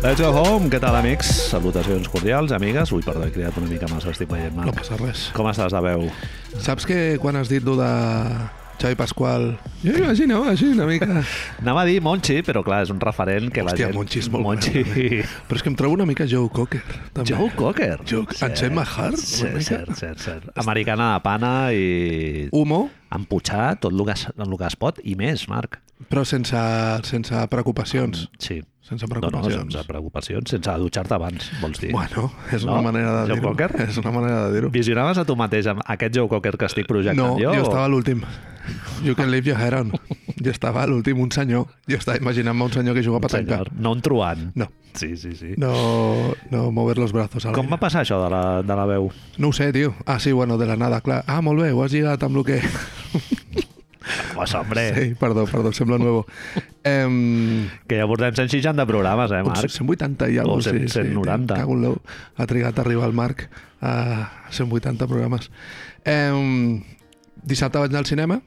Let's go home. Què tal, amics? Salutacions cordials, amigues. Ui, perdó, he cridat una mica massa, estic veient mal. No passa res. Com estàs de veu? Saps que quan has dit lo de Xavi Pasqual... Jo imaginava així una mica... Anava a dir Monchi, però clar, és un referent que la Hòstia, gent... Monchi és molt Monchi... Però és que em trobo una mica Joe Cocker, també. Joe Cocker. Joe... En Chet Mahar, una Cert, mica. cert, cert, cert. Americana de pana i... Humor, Emputxar tot el que, es, el que es pot i més, Marc. però sense, sense preocupacions. Sí. Sense No, no, preocupacions. sense preocupacions, sense dutxar-te abans, vols dir. Bueno, és No? una manera de Joe dir-ho. Cocker? És una manera de dir-ho. Visionaves a tu mateix amb aquest Joe Cocker que estic projectant No, jo, jo? o- estava a l'últim. You can leave your hair on. Jo estava a l'últim, un senyor. Jo estava imaginant-me un senyor que juga a petanca. Senyor, no un truant. No. Sí, sí, sí. No, no mover los brazos. al Com va aire. passar això de la, de la veu? No ho sé, tio. Ah, sí, bueno, de la nada, clar. Ah, molt bé, ho has lligat amb el que... Pues, hombre, sí. Sí, perdó, perdó, sembla nuevo. Em... que ja portem 160 programes, eh, Marc? Marc? 180 i alguna O cent- 190. Sí, cago en l'ou. Ha trigat a arribar el Marc a 180 programes. Em... Dissabte vaig anar al cinema,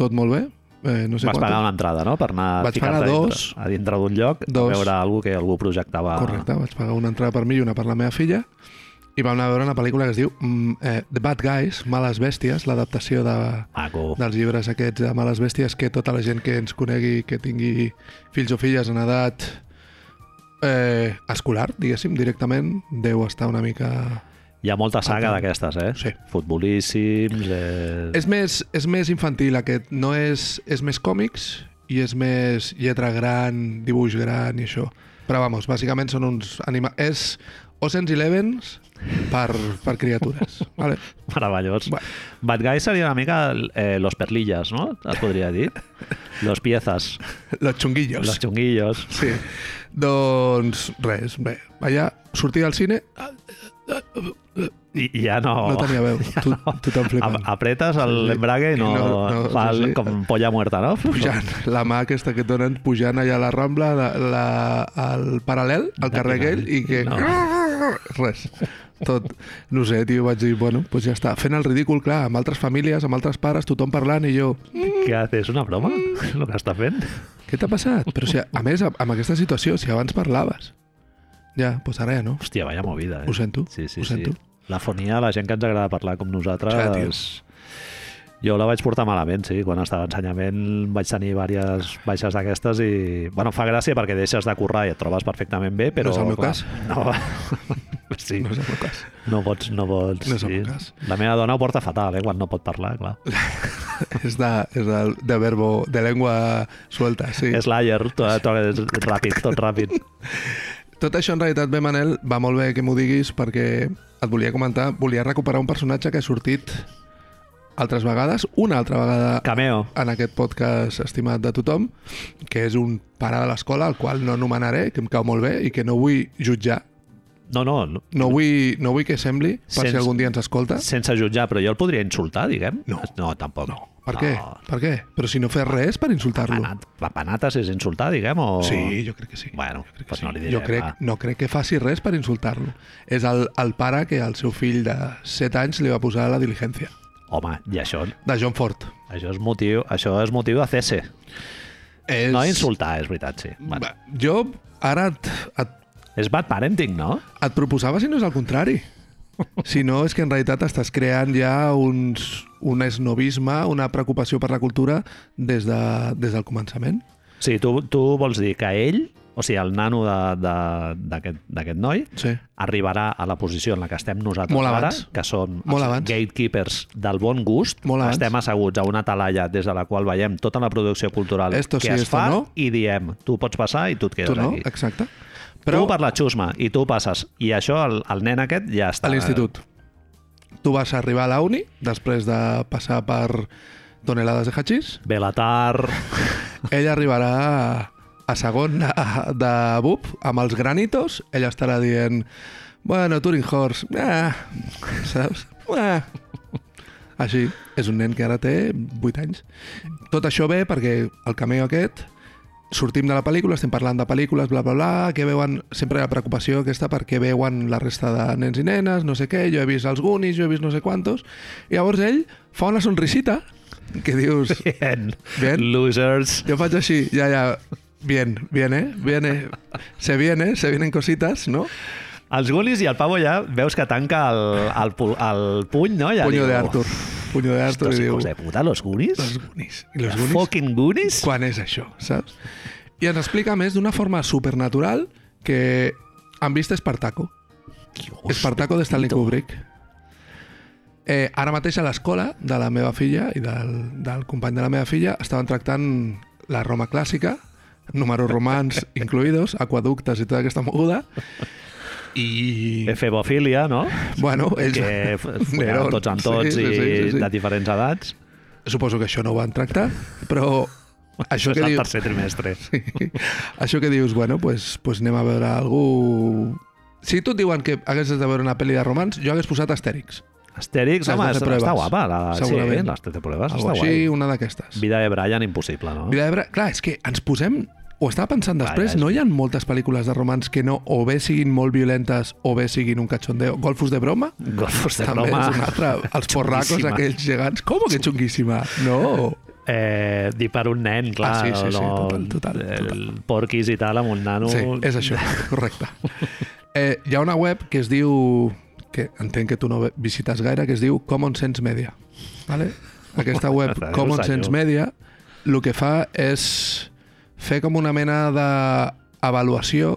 tot molt bé. Eh, no sé Vas quant. pagar una entrada, no?, per anar a Vaig ficar-te pagar dintre- dos. a dintre d'un lloc Dos. a veure algú que algú projectava... Correcte, vaig pagar una entrada per mi i una per la meva filla i vam anar a veure una pel·lícula que es diu mm, eh, The Bad Guys, Males Bèsties, l'adaptació de, Maco. dels llibres aquests de Males Bèsties que tota la gent que ens conegui, que tingui fills o filles en edat eh, escolar, diguéssim, directament, deu estar una mica... Hi ha molta saga Ah, d'aquestes, eh? Sí. Futbolíssims... Eh... És més, és més infantil aquest, no és, és més còmics i és més lletra gran, dibuix gran i això. Però vamos, bàsicament són uns anima... És Ocean's Elevens per, per criatures, vale? Meravellós. Bueno. Bad Guys seria una mica eh, los perlillas, no? Es podria dir. los piezas, Los chunguillos. los chunguillos. Sí. Doncs res, bé. Allà, sortir del cine, I, i ja no... No tenia veu. Tu, tothom flipant. A- Apretes el- Sí, sí. l'embrague i no, I no- no, fa sí, el- sí. com polla muerta, no? Pujant, la mà aquesta que et donen pujant allà a la Rambla, la, la, al paral·lel, al carrer aquell, i que... No. Res. Tot, no sé, tio, vaig dir, bueno, doncs ja està. Fent el ridícul, clar, amb altres famílies, amb altres pares, tothom parlant, i jo, Què haces? Una broma? El que està fent? què t'ha passat? Però si, a més, amb- amb aquesta situació, si abans parlaves, ja, doncs ara ja no. Hòstia, vaya movida, eh? Ho sento, Sí, sí, ho sento. sí. La fonia, la gent que ens agrada parlar com nosaltres... Clar, tio. jo la vaig portar malament, sí. Quan estava a ensenyament vaig tenir diverses baixes d'aquestes i... Bueno, fa gràcia perquè deixes de currar i et trobes perfectament bé, però... No és el meu clar, cas. No, sí. No és el meu cas. No pots, no pots. No és el meu cas. La meva dona ho porta fatal, eh, quan no pot parlar, clar. És de, és de, de verbo, de llengua suelta, sí. És l'Ayer, tot, tot ràpid, tot ràpid. Tot això en realitat bé, Manel, va molt bé que m'ho diguis perquè et volia comentar, volia recuperar un personatge que ha sortit altres vegades, una altra vegada Cameo. en aquest podcast estimat de tothom, que és un pare de l'escola, al qual no anomenaré, que em cau molt bé i que no vull jutjar, No, no, no, no vull, no vull que sembli, per Mm. Sense- si algun dia ens escolta. sense jutjar, però jo el podria insultar, diguem? No. No, tampoc. No. Per què? Ah. Per què? Però si no fes res per insultar-lo. Panat, la panates és insultar, diguem? O... Sí, jo crec que sí. Ah, Bueno, crec que doncs no li diré. jo crec, va. no crec que faci res per insultar-lo. És el, el pare que al seu fill de 7 anys li va posar a la diligència. Home, i això, de John Ford. això, és motiu, això és motiu de cese. És... No insultar, és veritat, sí. Bueno, Va, Jo ara et, et, és bad parenting, no? et proposava si no és el contrari. Si no, és que en realitat estàs creant ja uns, un esnovisme, una preocupació per la cultura des, de, des del començament. Sí, tu, tu vols dir que ell, o sigui, el nano de- de- d'aquest d'aquest noi, Sí. arribarà a la posició en la que estem nosaltres Molt ara, abans. que som Molt els abans. gatekeepers del bon gust. Molt abans. estem asseguts a una talaia des de la qual veiem tota la producció cultural Esto que sí, es esto fa no. i diem, tu pots passar i tu et quedes Tu no? aquí. Exacte. Però... Tu per la xusma i tu passes. I això, el, el nen aquest ja està. a l'institut. Tu vas arribar a la uni després de passar per tonelades de hachís. Belatar... Ell arribarà a, a segon de, de Bub amb els granitos. Ell estarà dient Bueno, Turing Horse, ah, saps? Ah. Així, és un nen que ara té 8 anys. Tot això ve perquè el cameo aquest sortim de la pel·lícula, estem parlant de pel·lícules, bla, bla, bla, que veuen, sempre la preocupació aquesta perquè veuen la resta de nens i nenes, no sé què, jo he vist els Goonies, jo he vist no sé quantos, i llavors ell fa una sonrisita que dius, Bien. Bien. Losers. jo faig així, ja, ja, Bien, viene, viene, se viene, se vienen cositas, ¿no? Els Goonies i el Pavo ja veus que tanca el, el, pu- el puny, no? Ja Puño diu, de Arthur. Puño de Arthur Estos i diu... hijos de puta, los Goonies? Los Goonies. I los The Goonies, Fucking Goonies? quan és això, saps? I ens explica, a més, d'una forma supernatural que han vist Espartaco. Dios, Espartaco de Stanley Kubrick. Eh, ara mateix a l'escola de la meva filla i del, del company de la meva filla estaven tractant la Roma clàssica, números romans incluïdos, aquaductes i tota aquesta moguda, i... Efebofília, no? Bueno, ells... Eh, Que Nerons, follaven tots amb tots sí, i sí, sí, sí. de diferents edats. Suposo que això no ho van tractar, però això Això és que el dius... tercer trimestre. Sí. Això que dius, bueno, pues, pues anem a veure algú... Si tu et diuen que haguessis de veure una pel·li de romans, jo hagués posat Astèrix. Astèrix, Les home, doce està, està pruebes. guapa. La, sí, Segurament. les 13 proves, Algo està així, guai. una d'aquestes. Vida de Brian, impossible, no? Vida d'Ebre... Clar, és que ens posem... Ho estava pensant Clar, després, ja és- no hi ha moltes pel·lícules de romans que no o bé siguin molt violentes o bé siguin un cachondeo. Golfos de broma? Golfos de També broma. és una altra. Els porracos Xunguíssima. aquells gegants. Com que xunguíssima? No. Eh, dir per un nen, clar. Ah, sí, sí, sí, no, total, total, eh, total. Porquis i tal, amb un nano... Sí, és això, correcte. Eh, hi ha una web que es diu que entenc que tu no ve- visites gaire, que es diu Common Sense Media. Vale? Aquesta web, Déu Common senyor. Sense Media, el que fa és fer com una mena d'avaluació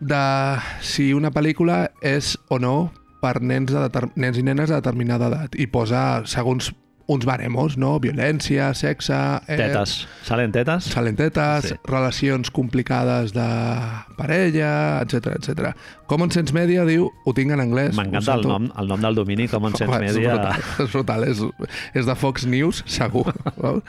de si una pel·lícula és o no per nens, de deter- nens i nenes de determinada edat i posa segons uns baremos, no? Violència, sexe... Eh, Tetes. Salen tetes? Salentetes, Sí. sí. relacions complicades de parella, etc etc. Common Sense Media diu, ho tinc en anglès. ho M'encanta el sento. nom, el nom del domini, com en Sense Home, Media. És brutal, és brutal. És, és de Fox News, segur. val?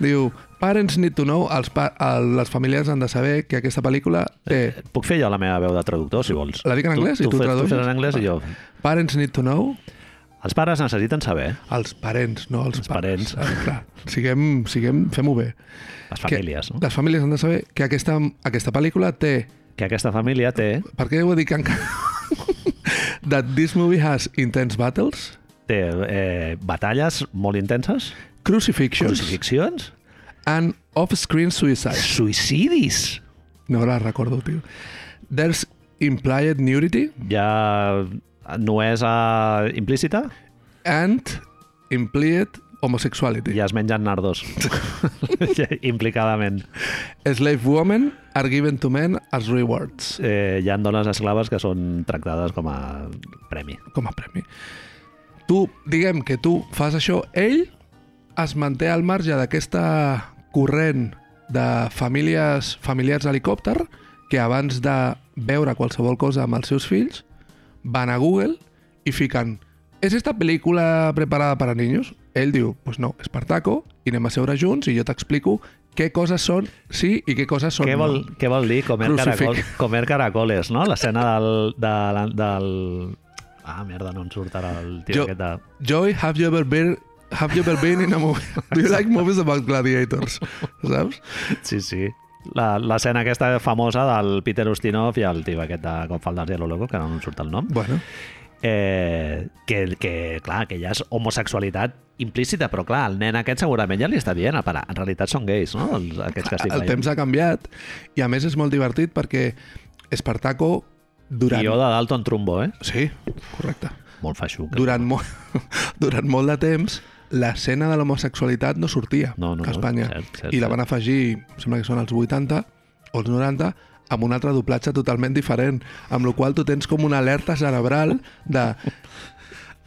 diu, parents need to know, els pa el, les famílies han de saber que aquesta pel·lícula té Puc fer jo la meva veu de traductor, si vols? La dic en anglès i tu fes- tradueixes? Tu fes en anglès i jo. Parents need to know, Els pares necessiten saber, els parents, no els, Els parents. Ah, Clar, siguem, siguem fem-ho bé. les famílies, que, no? Les famílies han de saber que aquesta, aquesta pel·lícula té Que aquesta família té, Per què ho dic encara? That this movie has intense battles, té eh, batalles molt intenses, crucifixions crucifixions, and off-screen suicide. suïcidis. No la recordo, tio. There's implied nudity Ja no és eh, implícita, and implied homosexuality. ja es mengen nardos. Implicadament. Slave women are given to men as rewards. Eh, hi ha dones esclaves que són tractades com a premi. Com a premi. Tu, diguem que tu fas això, ell es manté al marge d'aquesta corrent de famílies familiars helicòpter que abans de veure qualsevol cosa amb els seus fills van a Google i fiquen és esta pel·lícula preparada per a niños? Ell diu, pues no, Espartaco, i anem a seure junts i jo t'explico què coses són sí i què coses són Què vol, no. què vol dir comer, Crucific. caracol, comer caracoles, no? L'escena del, de, la- del... Ah, merda, no em surt ara el tio Jo- jo... aquest de... Joy, have you ever been Have you ever been in a movie? Do you like movies about gladiators? Saps? Sí, sí. La- L'escena aquesta famosa del Peter Ustinov i el tio aquest de Confaldars i Loco, que no em surt el nom, Bueno, eh, que, que, clar, que ja és homosexualitat implícita, però clar, el nen aquest segurament ja li està dient, "Al pare, en realitat són gais, no? Els, aquests que estic el temps ha canviat i a més és molt divertit perquè Espartaco durant... Guió de Dalton Trumbo, eh? Sí, correcte. Molt feixuc. eh? Durant, mo... durant molt de temps l'escena de l'homosexualitat no sortia No, no, a no, Espanya. cert, cert, I la van afegir, em sembla que són els 80 o els 90, amb un altre doblatge totalment diferent, amb la qual cosa tu tens com una alerta cerebral de ah,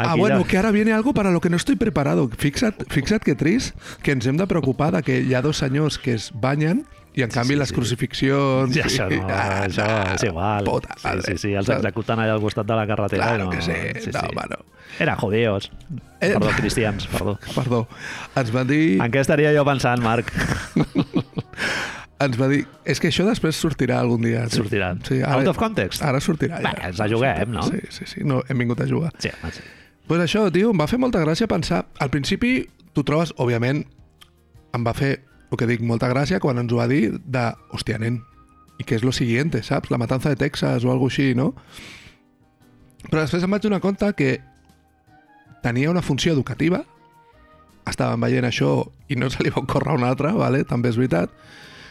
Aquí bueno, ja- que ara viene algo para lo que no estoy preparado. Fixa't, fixa't que trist que ens hem de preocupar de que hi ha dos senyors que es banyen i en canvi sí, les sí. crucifixions... Sí, això no, Ah, això no, és igual. Puta madre. sí, sí, sí, els Saps? executen allà al costat de la carretera. Claro no, que sí. No, home, no. Era judeos. Eh. Perdó, cristians, perdó. Perdó. Ens van dir... En què estaria jo pensant, Marc? ens va dir... És que això després sortirà algun dia. Sortirà. Sí, ara, Out of context. Ara sortirà. Va, ens la juguem, no? Sí, sí, sí. No, hem vingut a jugar. Sí, home, sí. Doncs pues això, tio, em va fer molta gràcia pensar... Al principi tu trobes, òbviament, em va fer, el que dic, molta gràcia quan ens ho va dir de, hòstia, nen, i què és lo siguiente, saps? La matanza de Texas o alguna així, no? Però després em vaig donar compte que tenia una funció educativa estaven veient això i no se li va ocórrer una altra, vale? també és veritat.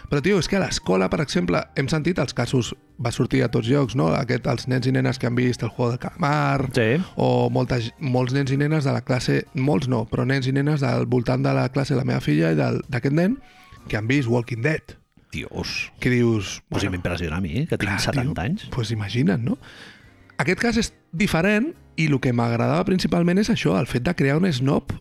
Però, tio, és que a l'escola, per exemple, hem sentit els casos, va sortir a tots llocs, no? Aquest, els nens i nenes que han vist el Juego del Calamar, Sí. o molta, g- molts nens i nenes de la classe, molts no, però nens i nenes del voltant de la classe de la meva filla i del- d'aquest nen, que han vist Walking Dead. Dios. Que dius... Pues bueno, m'impressiona a mi, eh, que tinc 70 anys. pues imagina't, no? Aquest cas és diferent i el que m'agradava principalment és això, el fet de crear un snob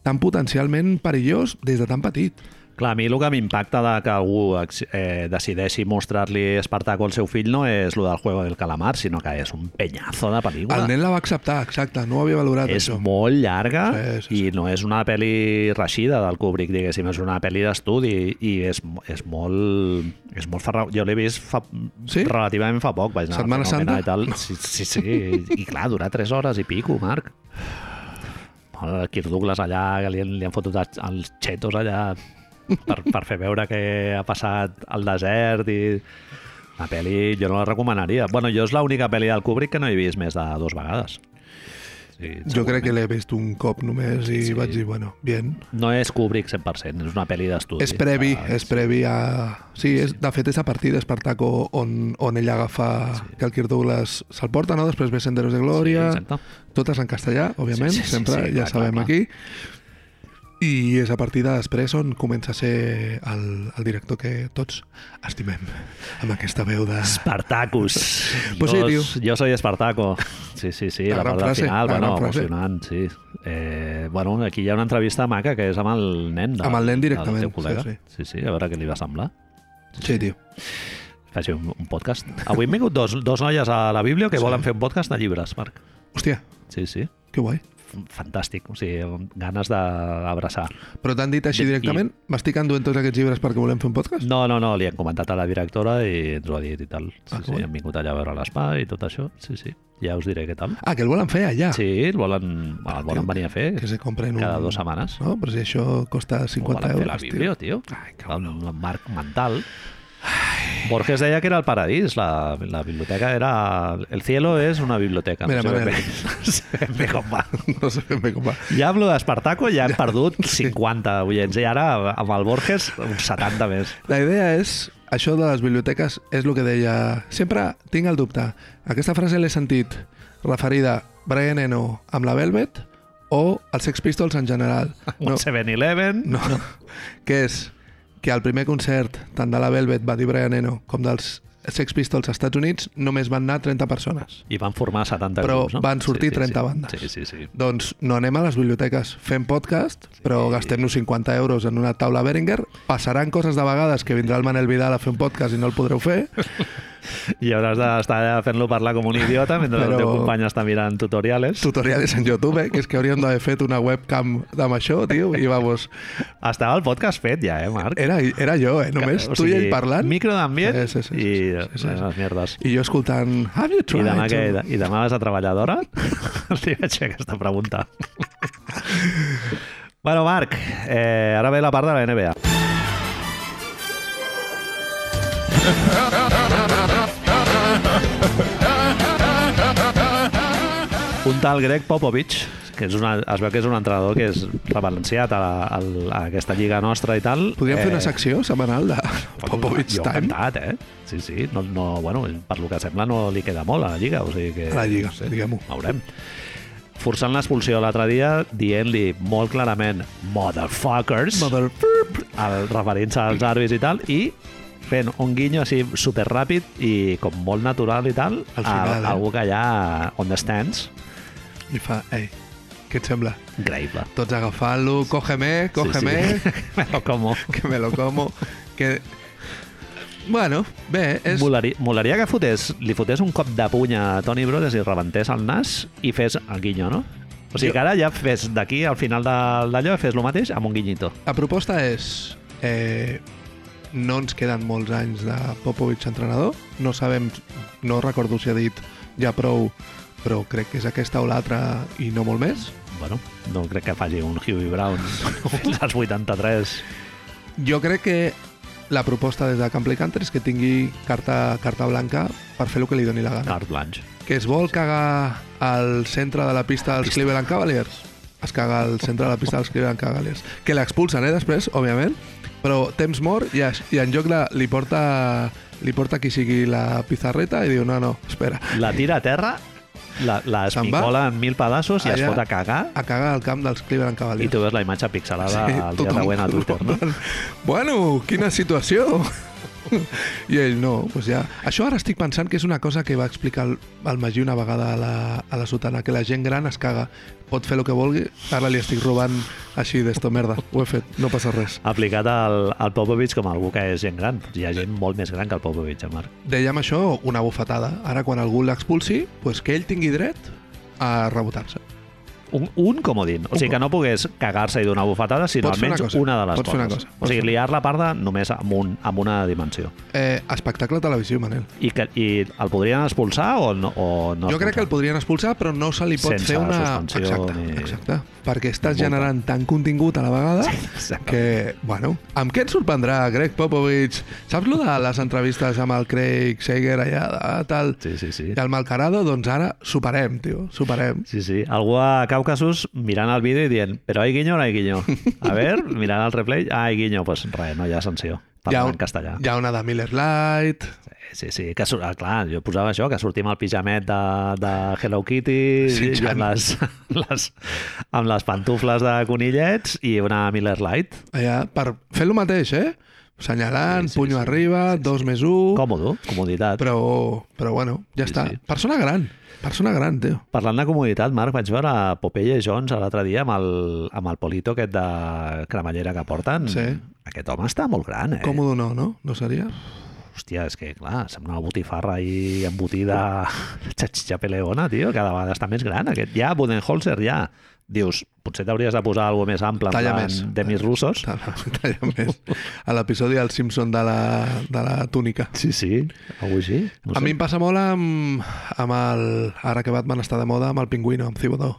tan potencialment perillós des de tan petit. Clar, a mi el que m'impacta de que algú ex- eh, decideixi mostrar-li Espartaco al seu fill no és el del Juego del Calamar, sinó que és un penyazo de pel·lícula. El nen la va acceptar, exacte, Ah, doncs no ho havia valorat és això. molt llarga Sí, sí, sí, sí, i no és una pel·li reixida del Kubrick, diguéssim, és una pel·li d'estudi i és, és molt... És molt ferra... Jo l'he vist fa, Sí? sí? relativament fa poc, vaig anar Setmana a Fenomena Santa? i tal. Sí, sí, sí. I clar, durar 3 hores i pico, Marc. Hola, Kirk Douglas allà, que li han, li han fotut els xetos allà per, per fer veure que ha passat al desert i... La pel·li jo no la recomanaria. Bueno, jo és l'única pel·li del Kubrick que no he vist més de dues vegades. Sí, Jo crec que l'he vist un cop només i Sí. vaig dir, bueno, bien. No és Kubrick 100%, és una pel·li d'estudi. És previ, Ah, és previ a... Sí, és, de fet és a partir d'Espartaco on, on ell agafa sí. que el Kirk Douglas se'l porta, no? Després ve Senderos de Glòria, exacte. totes en castellà, òbviament, Sí, sí, sí, sempre, sí, ja clar, sabem clar, clar. aquí. I és a partir de després on comença a ser el, el director que tots estimem, amb aquesta veu de... Espartacus. Pues sí, Yo- tio. Jo soy Espartaco. Sí, sí, sí, La la, gran part del frase, final, la bueno, gran frase. emocionant, sí. Eh, bueno, aquí hi ha una entrevista maca que és amb el nen. De, Amb el nen del directament, teu col·lega. sí, sí. sí, a veure què li va semblar. Sí, tio. Faci un, un podcast. Avui hem vingut dos, dos noies a la Bíblia que Sí. volen fer un podcast de llibres, Marc. Hòstia, Sí, sí. que guai. Fantàstic. O sigui, ganes d'abraçar. Però t'han dit així I- directament? M'estic enduent tots aquests llibres perquè volem fer un podcast? No, no, no, li han comentat a la directora i ens ho ha dit i tal. Sí, Ah, que sí, guai. han vingut allà a veure l'espai i tot això. Sí, sí, ja us diré què tal. Ah, que el volen fer allà. Sí, el volen, el volen venir a fer Que se compren un... cada dues setmanes. No, però si això costa Ho 50 volen fer a la euros, tio. Bíblia, tio. Ai, El, el marc mental. Borges deia que era el paradís, la, la biblioteca era... El cielo és una biblioteca. Mira, no sé ben Manel. bé- no sé ben bé com va. No sé ben bé com va. Ja amb lo d'Espartaco ja hem perdut 50 oients i ara amb el Borges uns 70 més. La idea és, això de les biblioteques és el que deia... Sempre tinc el dubte. Aquesta frase l'he sentit referida Brian Eno amb la Velvet o els Sex Pistols en general. Un No, 7-Eleven... no. Que és que al primer concert tant de la Velvet va dir Brian Eno com dels Sex Pistols als Estats Units només van anar 30 persones. I van formar 70 Però grups, no? van sortir 30 sí. bandes. Sí, sí, sí. Doncs no anem a les biblioteques, fem podcast, però gastem-nos 50 euros en una taula Beringer, passaran coses de vegades que vindrà el Manel Vidal a fer un podcast i no el podreu fer, I hauràs d'estar allà fent-lo parlar com un idiota mentre Però- el teu company està mirant tutoriales. tutorials en YouTube, que és que hauríem d'haver fet una webcam amb això, tio, i vamos... Estava el podcast fet ja, eh, Marc? Era, era jo, eh, només, tu i ell parlant, Micro d'ambient Sí, sí, sí, i sí, sí, sí, les sí. merdes. i jo escoltant... Have you I tried? demà, to-" que, I demà vas a treballar d'hora? Li vaig fer aquesta pregunta. bueno, Marc, eh, ara ve la part de la NBA. Un tal Greg Popovich, que és una, es veu que és un entrenador que és rebalanciat a, la- a, la- a aquesta lliga nostra i tal. Podríem fer una Eh, secció setmanal de Popovich jo Time encantat, eh? Sí, sí. No, no, bueno, per lo que sembla no li queda molt a la Lliga. O sigui que, a la Lliga, no sé, diguem-ho. Veurem. Forçant l'expulsió l'altre dia, dient-li molt clarament motherfuckers, Mother... el- referint-se als arbis i tal, i fent un guinyo així superràpid i com molt natural i tal, a- Al final, eh? algú que allà on the stands, I fa, ei, què et sembla? increïble. Tots agafant-lo, cógeme, cógeme... Sí, sí. Però com... que me lo como. Que... Bueno, bé, és... Molaria, molaria que fotés, li fotés un cop de puny a Tony Brothers i rebentés el nas i fes el guinyo, no? O sigui Jo- que ara ja fes d'aquí al final de- d'allò fes el mateix amb un guinyito. La proposta és... Eh, no ens queden molts anys de Popovich entrenador. No sabem... No recordo si ha dit ja prou, però crec que és aquesta o l'altra i no molt més. Bueno, no crec que faci un Hughie Brown fins als 83. Jo crec que la proposta des de Camp Play Country és que tingui carta, carta blanca per fer el que li doni la gana. Carte blanche. Que es vol cagar al centre de la pista dels Pista. Cleveland Cavaliers? es caga al centre de la pista dels Cleveland Cavaliers. Que l'expulsen, eh, després, òbviament, però temps mort i, es- i en lloc de, li porta li porta qui sigui la pizarreta i diu, no, no, espera, La tira a terra, la, la Se'n va. Ah, espicola en mil pedaços i es Allà. fot a cagar a cagar al camp dels i Cleveland Cavaliers. tu veus la imatge pixelada sí, el dia tothom següent a Twitter, no? en plan, Bueno, quina situació! I ell, no, doncs ja... Això ara estic pensant que és una cosa que va explicar el, el Magí una vegada a la, a la sotana, que la gent gran es caga, pot fer el que vulgui, ara li estic robant així d'esto merda. Ho he fet, no passa res. Aplicat al, al Popovich com algú que és gent gran. Hi ha gent molt més gran que el Popovich, eh, Marc. Dèiem això una bufetada. Ara, quan algú l'expulsi, doncs que ell tingui dret a rebotar-se. Un, un comodín. O sigui, que no pogués cagar-se i donar bufetada, sinó Pots fer una almenys cosa. una de les Pots fer una coses. cosa. O Pots sigui, fer- liar la parda només amb, un, amb una dimensió. Eh, espectacle televisiu, Manel. I, que, I el podrien expulsar o no? O no jo crec que el podrien expulsar, però no se li pot Sense fer una... suspensió Exacte, ni- exacte. Perquè estàs multa. generant tant contingut a la vegada exacte. que, bueno, amb què et sorprendrà Greg Popovich? Saps lo de les entrevistes amb el Craig Sager allà, de, tal, Sí, sí, sí. i el Malcarado? Doncs ara superem, tio, superem. Sí, sí. Algú a Caucasus mirant el vídeo i dient però hay guiño o no hay guiño? A ver, mirant el replay, ah, hay guiño, pues res, no hi ha sanció. Hi ha Parlant un- en castellà. Hi ha una de Miller Light, Sí, sí, que surt, ah, clar, jo posava això, que sortim al pijamet de, de Hello Kitty Sí, i ja. amb les, les, amb les pantufles de conillets i una Miller Lite. allà, per fer lo mateix, eh? Senyalant, Sí, sí, sí. punyo arriba, dos més un... Còmodo, comoditat. Però... Uh. Però, però bueno, ja Sí, està. sí. Persona gran, persona gran, tio. Parlant de comoditat, Marc, vaig veure Popeye Jones l'altre dia amb el, amb el polito aquest de cremallera que porten. Sí. Aquest home està molt gran, eh? Còmodo no, no? No seria? Hòstia, és que, clar, sembla una botifarra i embotida xatxitxa peleona, tio. Cada vegada està més gran. Aquest. Ja, Budenholzer, ja. Dius, potser t'hauries de posar alguna més ample, en Talla plan més. de mis russos. Talla, talla més. A l'episodi del Simpson de la, de la túnica. Sí, sí, algú així. No A mi em passa molt amb, amb el... Ara que Batman està de moda, amb el pingüino, amb Cibodó.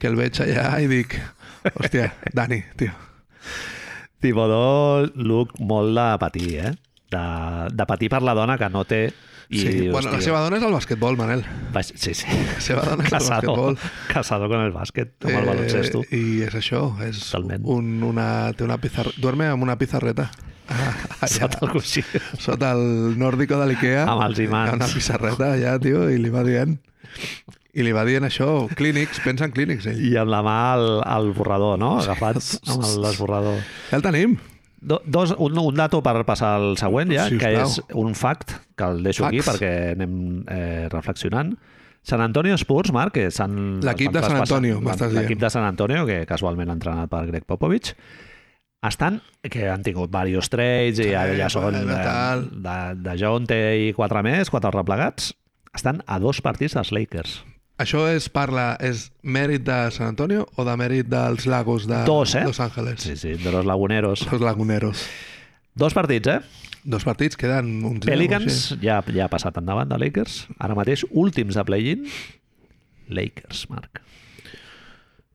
Que el veig allà i dic... Hòstia, Dani, tio. Tibodó, look molt de patir, eh? De, de patir per la dona que no té... I, Sí, dius, bueno, la tio, seva dona és el basquetbol, Manel. vaig- Sí, sí. La seva dona és el Casado, basquetbol. casado con el bàsquet, amb el baloncesto. Eh, I és això, és Totalment. un, una, té una pizarra... Duerme amb una pizarreta. Ah, allà, Sota el coixí. sota el nòrdico de l'Ikea. Amb els imants. Hi ha Una pissarreta allà, tio, i li va dient... I li va dient això, clínics, pensa en clínics, ell. I amb la mà al, al borrador, no? Agafat amb l'esborrador. Ja el tenim. Do, dos, un, un dato per passar al següent, ja, Sisplau. que és un fact, que el deixo aquí Facts. perquè anem eh, reflexionant. San Antonio Spurs, Marc, que s'han... L'equip s'han de San traspassat- Antonio, m'estàs dient. L'equip de San Antonio, que casualment ha entrenat per Greg Popovich, estan, que han tingut diversos trades i Sí, ara ja són bueno, de, tal. de, de Jonte i quatre més, quatre replegats, estan a dos partits dels Lakers. Això és parla, és mèrit de San Antonio o de mèrit dels lagos de Dos, eh? Los Ángeles? Sí, sí, de los laguneros. Los laguneros. Dos partits, eh? Dos partits, queden uns... deu, sí. Pelicans ja, ja ha passat endavant de Lakers. Ara mateix, últims de play-in, Lakers, Marc.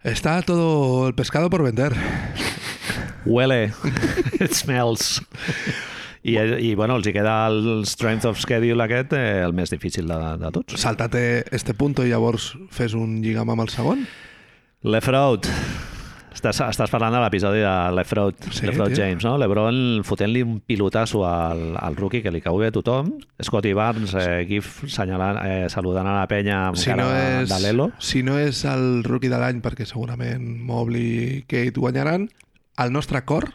Està todo el pescado por vender. Huele. It smells. I, I, bueno, els hi queda el strength of schedule aquest, eh, el més difícil de, de tots. Saltate este punto i llavors fes un lligam amb el segon. Lefraud. Estàs, estàs parlant de l'episodi de Lefraud, Sí, sí, Lefraud tio. James, no? Lebron fotent-li un pilotasso al, al rookie que li cau bé a tothom. Scotty Barnes, eh, GIF, senyalant, eh, saludant a la penya amb Si cara no, de- és, de l'Elo. si no és el rookie de l'any, perquè segurament Mobley i Kate guanyaran, el nostre cor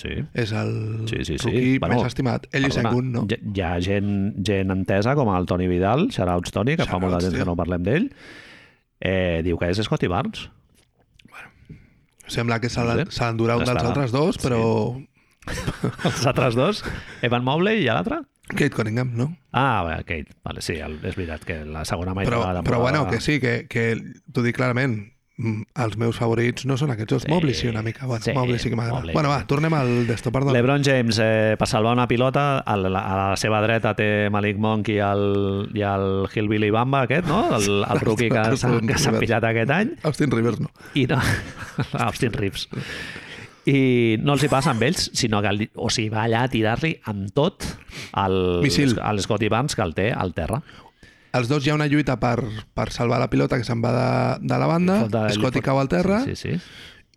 Sí. és el Sí, sí, sí. rookie Bueno, més estimat. Ell i Perdona, Sengun, no? Hi, hi ha gent, gent entesa, com el Toni Vidal, shoutouts Toni, que fa Shoutouts, molt de temps tio. que no parlem d'ell, eh, diu que és Scotty Barnes. Sembla que se No l'ha- sé. se l'endurà un Ja dels està. altres dos, però Els altres dos, Evan Mobley i l'altre? Kate Cunningham, no? Ah, bé, Kate. Vale, sí, el, és veritat que la segona meitat Però, de la temporada... però bueno, que sí, que, que t'ho dic clarament, mm, els meus favorits no són aquests dos. Sí, Mobley sí una mica. Bueno, sí, Mobley sí que m'agrada. Mobley. Bueno, va, tornem al d'esto, perdó. LeBron James, eh, per salvar una pilota, a la, a la seva dreta té Malik Monk i el, i el Hillbilly Bamba aquest, no? El, el rookie que Els s'ha que s'ha rookies. pillat aquest any. Austin Rivers no. i no... Austin Reeves. I no els hi passa amb ells, sinó que li- o sigui, va allà a tirar-li amb tot el, Missil. el Scotty Barnes que el té al terra. Els dos hi ha una lluita per, per salvar la pilota que se'n va de, de la banda, Falta- li Scotty fot- Ah, cau al terra, Sí, sí, sí.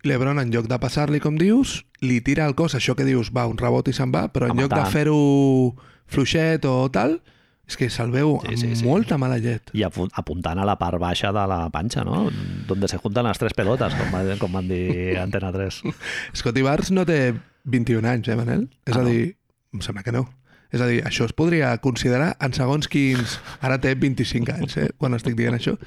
Lebron, en lloc de passar-li, com dius, li tira el cos, això que dius, va, un rebot i se'n va, però en A lloc de matar. fer-ho fluixet o tal, és que se'l veu Sí, amb sí, sí. molta mala llet. I apu- apuntant a la part baixa de la panxa, no? Donde se juntan las tres pelotas, com, va, com van dir Antena 3. Scotty Barnes no té 21 anys, eh, Manel? És Ah, no. a dir, em sembla que no. És a dir, això es podria considerar en segons quins... Ara té 25 anys, eh, quan estic dient això.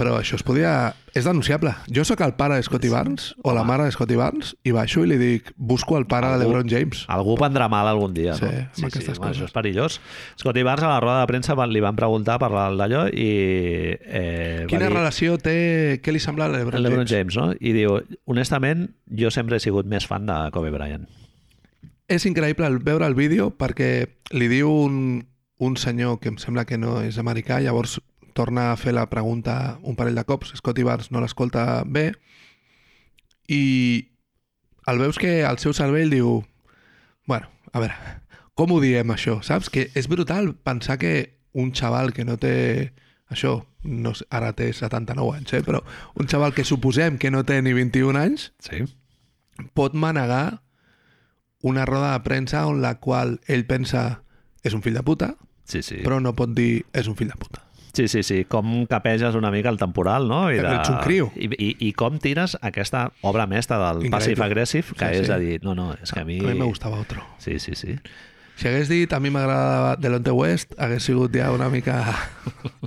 Però això es podria... És denunciable. Jo sóc el pare de Scotty Barnes, o la Home. mare de Scotty Barnes, i baixo i li dic, busco el pare de Algú- LeBron James. Algú prendrà mal algun dia, Sí, no? amb aquestes Home, coses. Això és perillós. Scotty Barnes a la roda de premsa van, li van preguntar per la- d'allò i... Eh, va Quina dir- relació té... Què li sembla a LeBron, el LeBron James? James, no? I diu, honestament, jo sempre he sigut més fan de Kobe Bryant. És increïble el veure el vídeo perquè li diu un, un senyor que em sembla que no és americà, llavors torna a fer la pregunta un parell de cops, Scotty Barnes no l'escolta bé, i el veus que el seu cervell diu bueno, a veure, com ho diem això, saps? Que és brutal pensar que un xaval que no té això, no sé, ara té 79 anys, eh? però un xaval que suposem que no té ni 21 anys, Sí. pot manegar una roda de premsa on la qual ell pensa és un fill de puta, Sí, sí. però no pot dir és un fill de puta. Sí, sí, sí. Com capeges una mica el temporal, no? Però ets un crio. I, i, I com tires aquesta obra mestra del Increïble. passive-aggressive, que Sí, sí, és sí. sí. a dir, no, no, és que a mi... A mi me gustava otro. Sí, sí, sí. Si hagués dit a mi m'agradava Delonte West, hagués sigut ja una mica...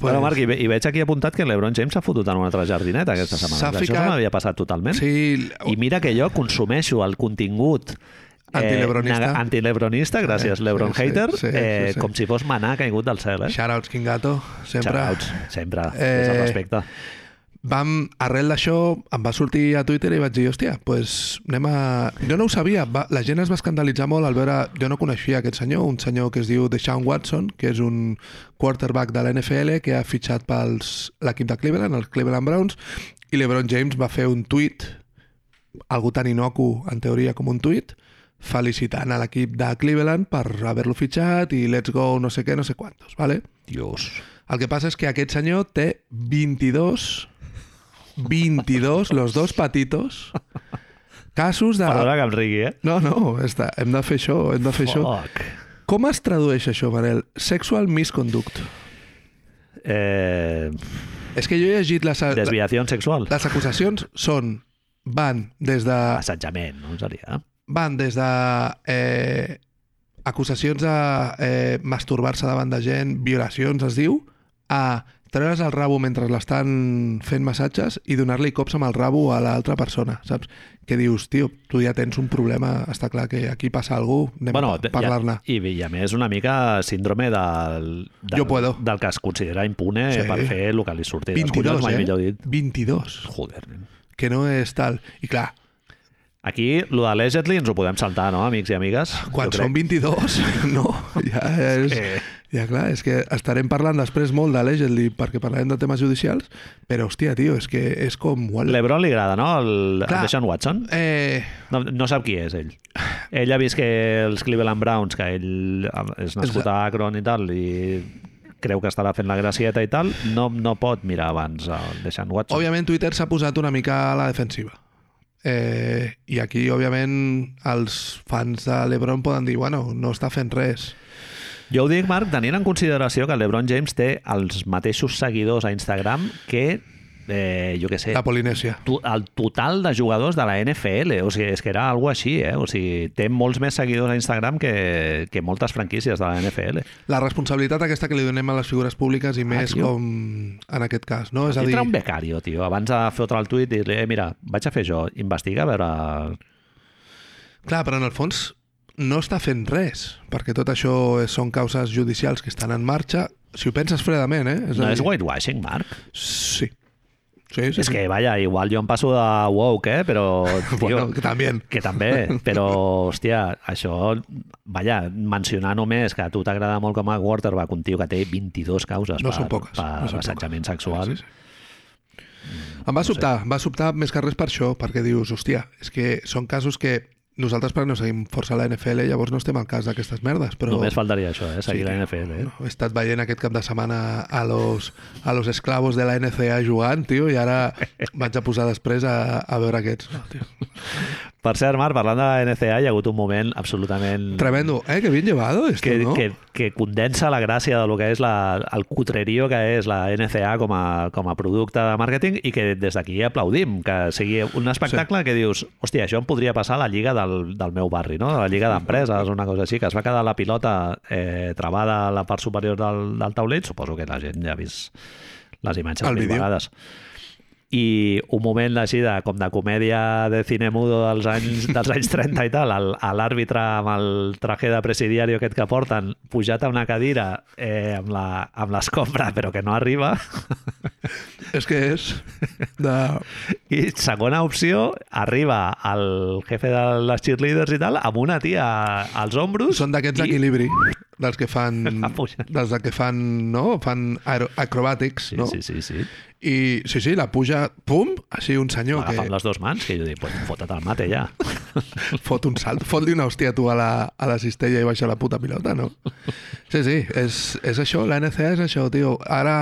Pues... Bueno, Marc, i, ve- i veig aquí apuntat que l'Ebron James s'ha fotut en una altra jardineta aquesta setmana. S'ha Això ficat- se m'havia passat totalment. Sí, I mira que jo consumeixo el contingut Antilebronista. nega- antilebronista, gràcies, Sí, Lebron sí, hater, sí, sí, eh, sí. com si fos manar caigut del cel, eh? shoutouts King Gato, sempre. Shoutouts, sempre, eh... des del Eh, respecte. Vam, arrel d'això, em va sortir a Twitter i vaig dir, hòstia, pues anem a... Jo no ho sabia, va, la gent es va escandalitzar molt al veure... Jo no coneixia aquest senyor, un senyor que es diu Deshaun Watson, que és un quarterback de la NFL que ha fitxat pels l'equip de Cleveland, els Cleveland Browns, i l'Ebron James va fer un tuit, algú tan inocu, en teoria, com un tuit, felicitant a l'equip de Cleveland per haver-lo fitxat i let's go no sé què, no sé quantos, ¿vale? Dios. El que passa és que aquest senyor té 22, 22, los dos patitos, casos de... Perdona que em rigui, eh? No, no, està, hem de fer això, hem de fer això. Fuck. Com es tradueix això, Manel? Sexual misconduct. Eh, És que jo he llegit les, desviació sexual. les acusacions són van des de Assetjament, no seria? van des de eh, acusacions de eh, masturbar-se davant de gent, violacions es diu, a treure's el rabo mentre l'estan fent massatges i donar-li cops amb el rabo a l'altra persona, saps? Que dius, tio, tu ja tens un problema, està clar que aquí passa algú, anem bueno, te- a parlar-ne. I, I a més una mica síndrome del, del, Jo puedo. del que es considera impune Sí. sí. per fer el que li surti. dels 22, collons, mai eh? millor dit. 22, Joder. nen. que no és tal. I clar, Aquí, lo de Legendly ens ho podem saltar, no, amics i amigues? quan Jo són 22, no, ja és... Eh, Ja, clar, és que estarem parlant després molt de Legendly perquè parlarem de temes judicials, però, hòstia, tio, és que és com... Uala. L'Ebron li agrada, no? El, el Clar. Deshaun Watson? Eh, No, no sap qui és ell. Ell ha vist que els Cleveland Browns, que ell és nascut a Akron i tal, i creu que estarà fent la gracieta i tal, no, no pot mirar abans el Deixant Watson. òbviament, Twitter s'ha posat una mica a la defensiva. Eh, I aquí, òbviament, els fans de l'Ebron poden dir, bueno, no està fent res. Jo ho dic, Marc, tenint en consideració que el LeBron James té els mateixos seguidors a Instagram que, eh, jo què sé, La Polinèsia. tu- el total de jugadors de la NFL. O sigui, és que era alguna així, eh? O sigui, té molts més seguidors a Instagram que, que moltes franquícies de la NFL. La responsabilitat aquesta que li donem a les figures públiques i més tio. com en aquest cas, no? És a dir, Entra un becario, tio, abans de fotre el tuit i dir-li, eh, mira, vaig a fer això, investiga a veure... clar, però en el fons no està fent res, perquè tot això és- són causes judicials que estan en marxa. Si ho penses fredament, eh? És a no dir- és whitewashing, Marc? Sí. Sí, sí. Sí, és sí. que, vaja, igual jo em passo de woke, eh? Però, tio, Bueno, que també. Que també, però, hòstia, això... Vaja, mencionar només que a tu t'agrada molt com a quarterback, un tio que té 22 causes No per, són poques, per no són assetjament poques. sexual. Sí, sí, Em va sobtar, em va sobtar més que res per això, perquè dius, hòstia, és que són casos que nosaltres perquè no seguim força la NFL, llavors no estem al cas d'aquestes merdes, però... Només faltaria això, eh? Seguir Sí, la NFL, eh? No, he estat veient aquest cap de setmana a los, a los esclavos de la NCA jugant, tio, i ara vaig a posar després a, a veure aquests. Oh, No, tio. Per cert, Marc, parlant de la NCA, hi ha hagut un moment absolutament... Tremendo. Eh, que bien llevado esto, que, no? que, que condensa la gràcia del que és la, el cutrerío que és la NCA com a, com a producte de màrqueting i que des d'aquí aplaudim, que sigui un espectacle sí. que dius, hòstia, això em podria passar a la lliga del, del meu barri, no? a la lliga d'empreses, una cosa així, que es va quedar la pilota eh, travada a la part superior del, del taulell, suposo que la gent ja ha vist les imatges El mil vídeo. vegades i un moment així de, com de comèdia de cine mudo dels anys, dels anys 30 i tal, el- a l'àrbitre amb el traje de presidiario aquest que porten, pujat a una cadira eh, amb la- amb l'escombra però que no arriba, És que és de... i segona opció, arriba el jefe de les cheerleaders i tal, amb una tia als ombros. Són d'aquests i- d'equilibri, dels que fan... Ah, puja. Dels que fan, no? Fan aero- acrobàtics, Sí, no? sí, sí, sí. I sí, sí, la puja, pum, així un senyor Agafa que amb les dues mans, que jo dic, pues, fota't al mate ja. fot un salt, fot-li una hòstia tu a la, a la cistella i baixa la puta pilota, no? Sí, sí, és, és això, la NCA és això, tio. Ara,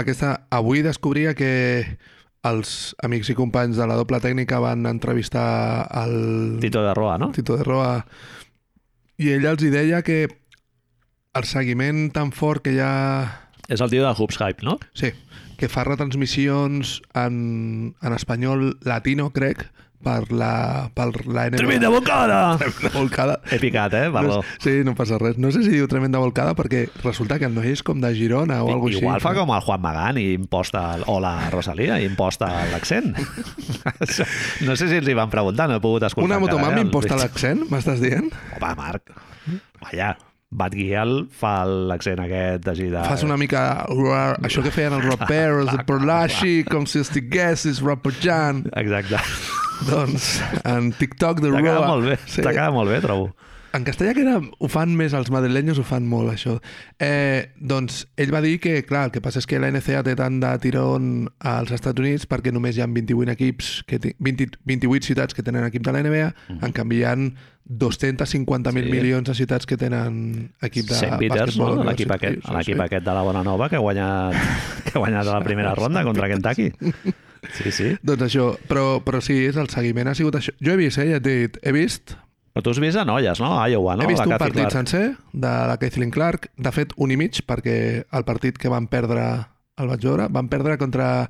aquesta, avui descobria que els amics i companys de la doble tècnica van entrevistar el Tito de Roa, no? Tito de Roa i ell els hi deia que el seguiment tan fort que hi ha És el tio de Hoops Hype, no? Sí, que fa retransmissions en, en espanyol latino, crec, per la, per la NBA. Tremenda bocada! Tremenda volcada. He picat, eh? Perdó. No, sí, no passa res. No sé si diu tremenda volcada perquè resulta que el noi és com de Girona o alguna Igual així. fa com el Juan Magán i imposta, el- o la Rosalia, i imposta l'accent. no sé si els hi van preguntar, no he pogut escoltar. Una encara, motomami eh, el imposta Rich. l'accent, m'estàs dient? Home, Marc, allà, Bat Guial fa l'accent aquest així de... Fas una mica això que feien els rapers, el Perlashi, com si estiguessis rapejant. Exacte. Doncs en TikTok de T'ha quedat Roa. molt bé, sí. t'ha quedat molt bé, trobo. En castellà que era, ho fan més, els madrilenyos ho fan molt, això. Eh, doncs ell va dir que, clar, el que passa és que la NCA té tant de tirón als Estats Units perquè només hi ha 28 equips, que ti- 20, 28 ciutats que tenen equip de la NBA, en canvi hi ha 250.000 Mm. Sí. milions de ciutats que tenen equip de St. Peters, no? bàsquetbol. l'equip aquest, universitari. l'equip aquest de la Bona Nova que ha guanyat, que ha guanyat a la primera ronda contra Kentucky. Sí, sí. Doncs això, però, però sí, és el seguiment ha sigut això. Jo he vist, eh, ja et he dit, he vist Però tu has vist a noies, no? A Iowa, no? He vist La un Kathy partit Clark. sencer de la Kathleen Clark, de fet un i mig, perquè el partit que van perdre el vaig veure, van perdre contra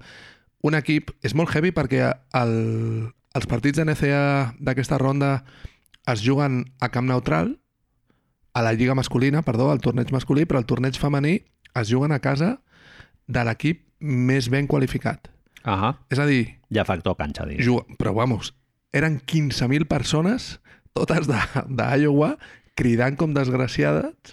un equip... És molt heavy perquè el, els partits de NCA d'aquesta ronda es juguen a camp neutral, a la lliga masculina, perdó, al torneig masculí, però el torneig femení es juguen a casa de l'equip més ben qualificat. Ahà. És a dir, Ja factor canxa, dins. Juga, però vamos, eren 15.000 persones, totes de- d'Iowa, cridant com desgraciades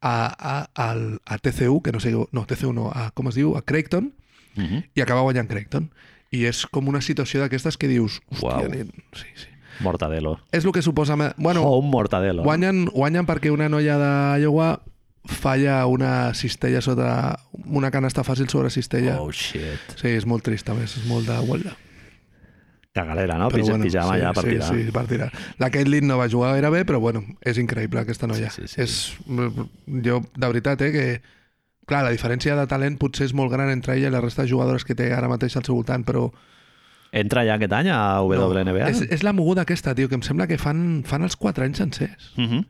a, a, al, a TCU, que no sé, no, TCU no, a, com es diu, a Creighton, Mhm. i acaba guanyant Creighton. I és com una situació d'aquestes que dius, hòstia, Uau. nen, sí, sí. Mortadelo. És el que suposa... me- Bueno, o un mortadelo. guanyen, guanyen perquè una noia d'Iowa falla una cistella sota... una canasta fàcil sobre cistella. Oh, shit. Sí, és molt trist, a més, és molt de... Uala. Cagalera, no? Pija, pijama ja per sí, tirar. Sí, per tirar. La Caitlyn no va jugar gaire bé, però bueno, és increïble aquesta noia. Sí, sí, sí. És, mm, jo, de veritat, eh, que... Clar, la diferència de talent potser és molt gran entre ella i la resta de jugadores que té ara mateix al seu voltant, però... Entra ja aquest any a no, WNBA? és, és la moguda aquesta, tio, que em sembla que fan, fan els 4 anys sencers. Mhm.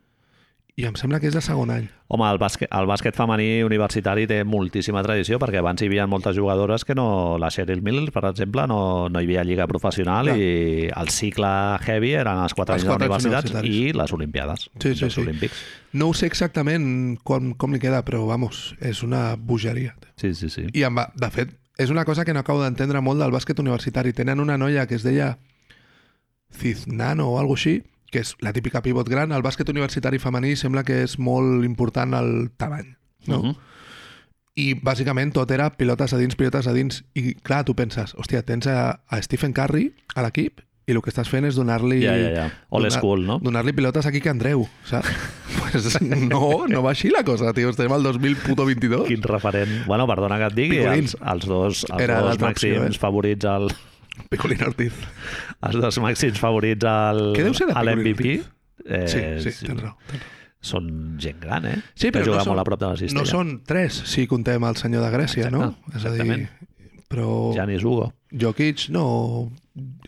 I em sembla que és de segon any. Home, el bàsquet, el bàsquet femení universitari té moltíssima tradició perquè abans hi havia moltes jugadores que no... La Cheryl Miller, per exemple, no, no hi havia lliga professional Clar. i el cicle heavy eren els 4 Els anys de quatre anys universitats universitaris. i les Olimpiades. Sí, sí, els sí. Olímpics. No ho sé exactament com, com li queda, però, vamos, és una bogeria. tio. Sí, sí, sí. I em va, de fet, és una cosa que no acabo d'entendre molt del bàsquet universitari. Tenen una noia que es deia Ciznano o alguna així, que és la típica pivot gran. El bàsquet universitari femení sembla que és molt important el tamany. No? Mhm. I bàsicament tot era pilotes a dins, pilotes a dins. I clar, tu penses, hòstia, tens a, a Stephen Curry a l'equip i el que estàs fent és donar-li... Ja, ja, ja. Old donar- school, no? Donar-li pilotes aquí que Andreu, saps? pues no, no va així la cosa, tio. Estem al 2022. Quin referent... Bueno, perdona que et digui, Picolins. els, els dos, els Era dos l'altra opció, màxims eh? favorits al, Picolín Ortiz. Els dos màxims favorits al, Què deu ser de a Picolín l'MVP Ortiz? eh, Sí, sí, tens raó. tens raó. són gent gran, eh? Sí, que però juga no són- molt a prop de la cistella. No són tres, si contem el senyor de Grècia, no? Exacte, És a dir, exactament. però ja. Janis Hugo. Jokic no...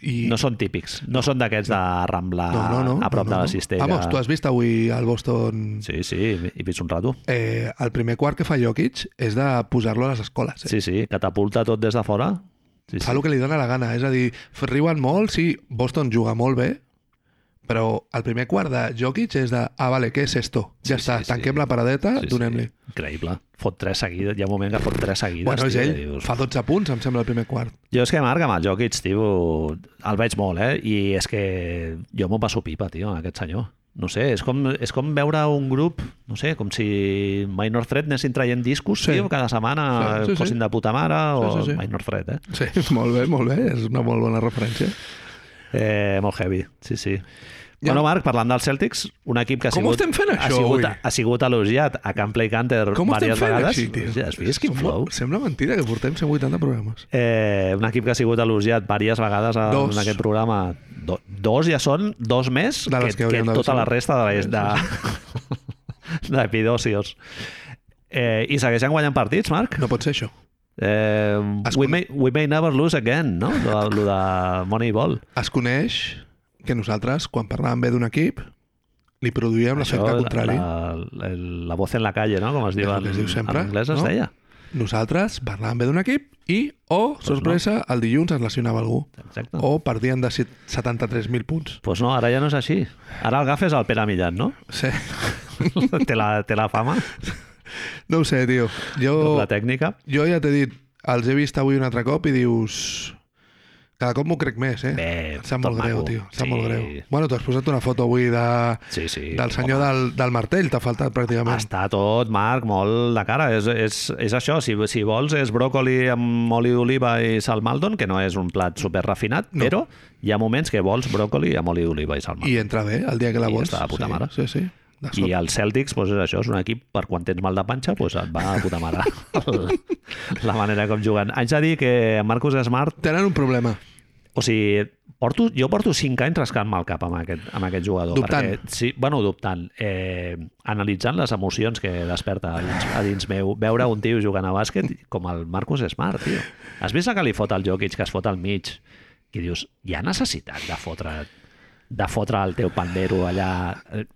I... No són típics. No són d'aquests de Rambla a prop de la cistella. Vamos, tu has vist avui el Boston... Sí. Sí, sí, he vist un rato. Eh, el primer quart que fa Jokic és de posar-lo a les escoles. Eh? Sí, sí, catapulta tot des de fora. Sí, Fa sí. el que li dóna la gana. És a dir, f- riuen molt, sí, Boston juga molt bé, però el primer quart de Jokic és de, ah, vale, què és esto? Ja Sí, està, sí, sí. tanquem la paradeta, Sí, sí. donem-li. Increïble. Fot tres seguides. Hi ha un moment que fot tres seguides. Bueno, és tio, ell, que dius, fa 12 punts, em sembla, el primer quart. Jo és que Marc, amb el Jokic, tio, el veig molt, eh? I és que jo m'ho passo pipa, tio, amb aquest senyor. No sé, és com, és com veure un grup, no sé, com si Minor Threat anessin traient discos, Sí. sí. tio, cada setmana sí, Sí, sí, sí, sí. fossin de puta mare o Sí, sí, sí, sí, sí. Minor Threat, eh? Sí, molt bé, molt bé, és una molt bona referència. eh? Molt heavy, sí, sí. Ja. Ja. Bueno, Marc, parlant dels Celtics, un equip que ha Com sigut, estem fent ha això sigut, avui? ha sigut elogiat a Can Play Canter Com ho estem diverses fent vegades. així, tio? Ja has vist quin Sembla- flow? Sembla mentida que portem 180 programes. Eh, un equip que ha sigut elogiat diverses vegades en, Dos. en aquest programa. Do, dos ja són, dos més De les que hauríem de tota saber. la resta de, de, d'epidòcios. Eh, I segueixen guanyant partits, Marc. No pot ser això. Eh, Es we, con- may, we may never lose again, no? Lo, lo de Moneyball. Es coneix que nosaltres, quan parlàvem bé d'un equip, li produïem l'efecte contrari. la, la, la voz en la calle, no? Com es diu És el en, que es diu sempre, en anglès, es no? deia. Nosaltres parlàvem bé d'un equip i, oh, sorpresa, el dilluns es lesionava algú. Exacte. O perdien de set- 73.000 punts. Pues no, ara ja no és així. Ara el gafes al Pere Millan, no? Sí. té, la, té la fama, No ho sé, tio. Jo, la tècnica. jo ja t'he dit, els he vist avui un altre cop i dius... Cada cop m'ho crec més, eh? Bé, Em sap tot molt greu, maco. tio. Em sap Sí. molt greu. Bueno, t'has posat una foto avui de, Sí, sí. del senyor del, del martell. T'ha faltat pràcticament. Està tot, Marc, molt de cara. És, és, és això, si, si vols, és bròcoli amb oli d'oliva i salmaldon, que no és un plat super refinat, No. no. però hi ha moments que vols bròcoli amb oli d'oliva i salmaldon. I entra bé el dia que la I vols. està de puta sí, mare. Sí, sí. De I, I sort. els Celtics, doncs és això, és un equip per quan tens mal de panxa, doncs et va a puta mare la, la manera com juguen. Haig de dir que Marcus Smart, Tenen un problema. o sigui, porto, jo porto 5 anys rascant-me el cap amb aquest, amb aquest jugador. Dubtant. Perquè, sí, bueno, dubtant. Eh, analitzant les emocions que desperta a dins, a dins meu, veure un tio jugant a bàsquet com el Marcus Smart, tio. Has vist el que li fot al Jokic, que es fot al mig? I dius, hi ha necessitat de fotre, de fotre el teu pandero allà eh,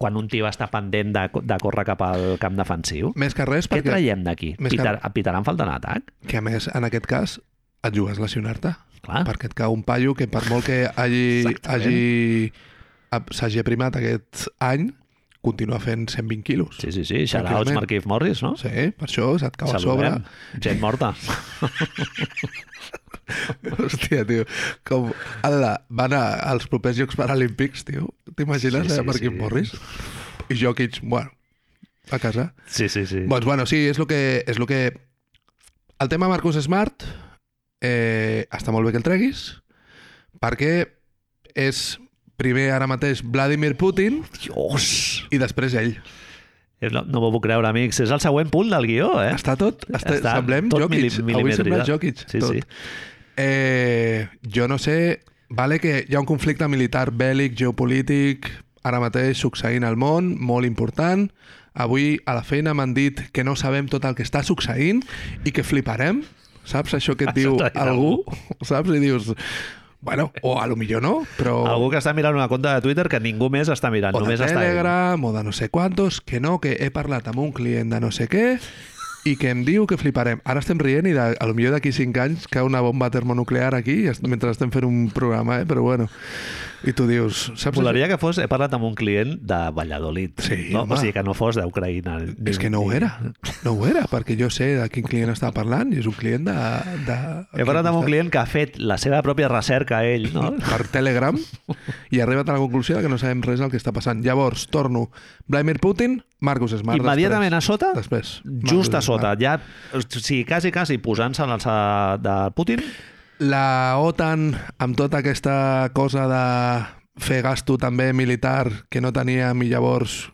quan un tio està pendent de, de córrer cap al camp defensiu? Més que res Què perquè, traiem d'aquí? més que- Pitar, pitaran falta en atac? que a més, en aquest cas, et jugues lesionar-te. Clar. Perquè et cau un paio que per molt que hagi Exactament. hagi- ap- s'hagi aprimat aquest any, continua fent 120 quilos. Sí, sí, sí. Xarauts, Tranquil·lament. Marquif Morris, no? Sí, per això se't cau Saludem. a Gent morta. sobre. Hòstia, tio. Com, ala, van a, als propers Jocs Paralímpics, tio. Sí, T'imagines, sí, sí, sí, Marquín sí. sí. Morris? I Jokic, bueno, a casa. Sí, sí, sí. Doncs bueno, sí, és el que... És lo que... El tema Marcus Smart eh, està molt bé que el treguis perquè és primer ara mateix Vladimir Putin Dios! i després ell. És la- Eh, No m'ho puc creure, amics. És el següent punt del guió, eh? Està tot... Està, Està està semblem tot tot Jokic. mili- Avui sembla milimetritzat. Jokic. Sí, tot. sí. Eh, jo no sé... Vale que hi ha un conflicte militar bèl·lic, geopolític, ara mateix succeint al món, molt important. Avui a la feina m'han dit que no sabem tot el que està succeint i que fliparem. Saps això que et Això diu t'ha dit algú? Saps? I dius... Bueno, o a lo millor no, però... Algú que està mirant una conta de Twitter que ningú més està mirant. o de només està ell. Telegram, o de no sé quantos, que no, que he parlat amb un client de no sé què i que em diu que fliparem. Ara estem rient i de, a lo millor d'aquí 5 anys cau una bomba termonuclear aquí est- mentre estem fent un programa, eh? però bueno. I tu dius... Saps Volaria que fos... He parlat amb un client de Valladolid. Sí, no? home. O sigui, que no fos d'Ucraïna. això? És que no ho era, no ho era, perquè jo sé de quin client està parlant i és un client de... de He parlat amb un client que ha fet la seva pròpia recerca, ell, no? per Telegram i ha arribat a la conclusió de que no sabem res del que està passant. Llavors, torno. Vladimir Putin, Marcus Smart. Immediatament a sota, Després. després just a Marcus sota, Smart. ja, o sigui, quasi, quasi posant-se en l'alça de Putin, la OTAN, amb tota aquesta cosa de fer gasto també militar que no teníem i llavors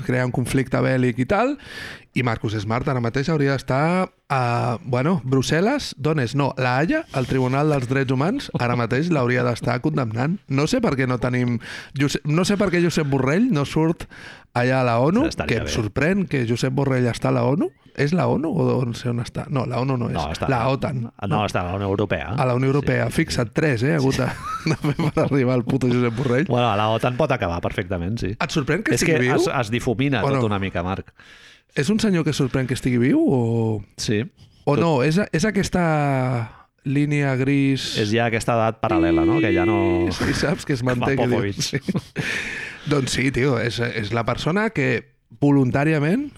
crear un conflicte bèl·lic i tal, i Marcus Smart ara mateix hauria d'estar a, bueno, Brussel·les, d'on és? No, la Haia, el Tribunal dels Drets Humans, ara mateix l'hauria d'estar condemnant. No sé per què no tenim... Josep, no sé per què Josep Borrell no surt allà a la ONU, Estaria que em bé. sorprèn que Josep Borrell està a la ONU. És la ONU o on, sé on està? No, la ONU no és. No, està- La OTAN. No, està a la Unió Europea. A la Unió Europea. Sí. Fixa't, tres, eh? Ha hagut de, de fer per arribar al puto Josep Borrell. Bueno, a la OTAN pot acabar perfectament, sí. Et sorprèn que És estigui que viu? es, es difumina O tot no? una mica, Marc. És un senyor que sorprèn que estigui viu o, Sí. o no? És, és aquesta línia gris... És ja aquesta edat paral·lela, no? Que ja no... Sí, saps que es manté. Com a que diu. Popovich. Sí. doncs sí, tio, és, és la persona que voluntàriament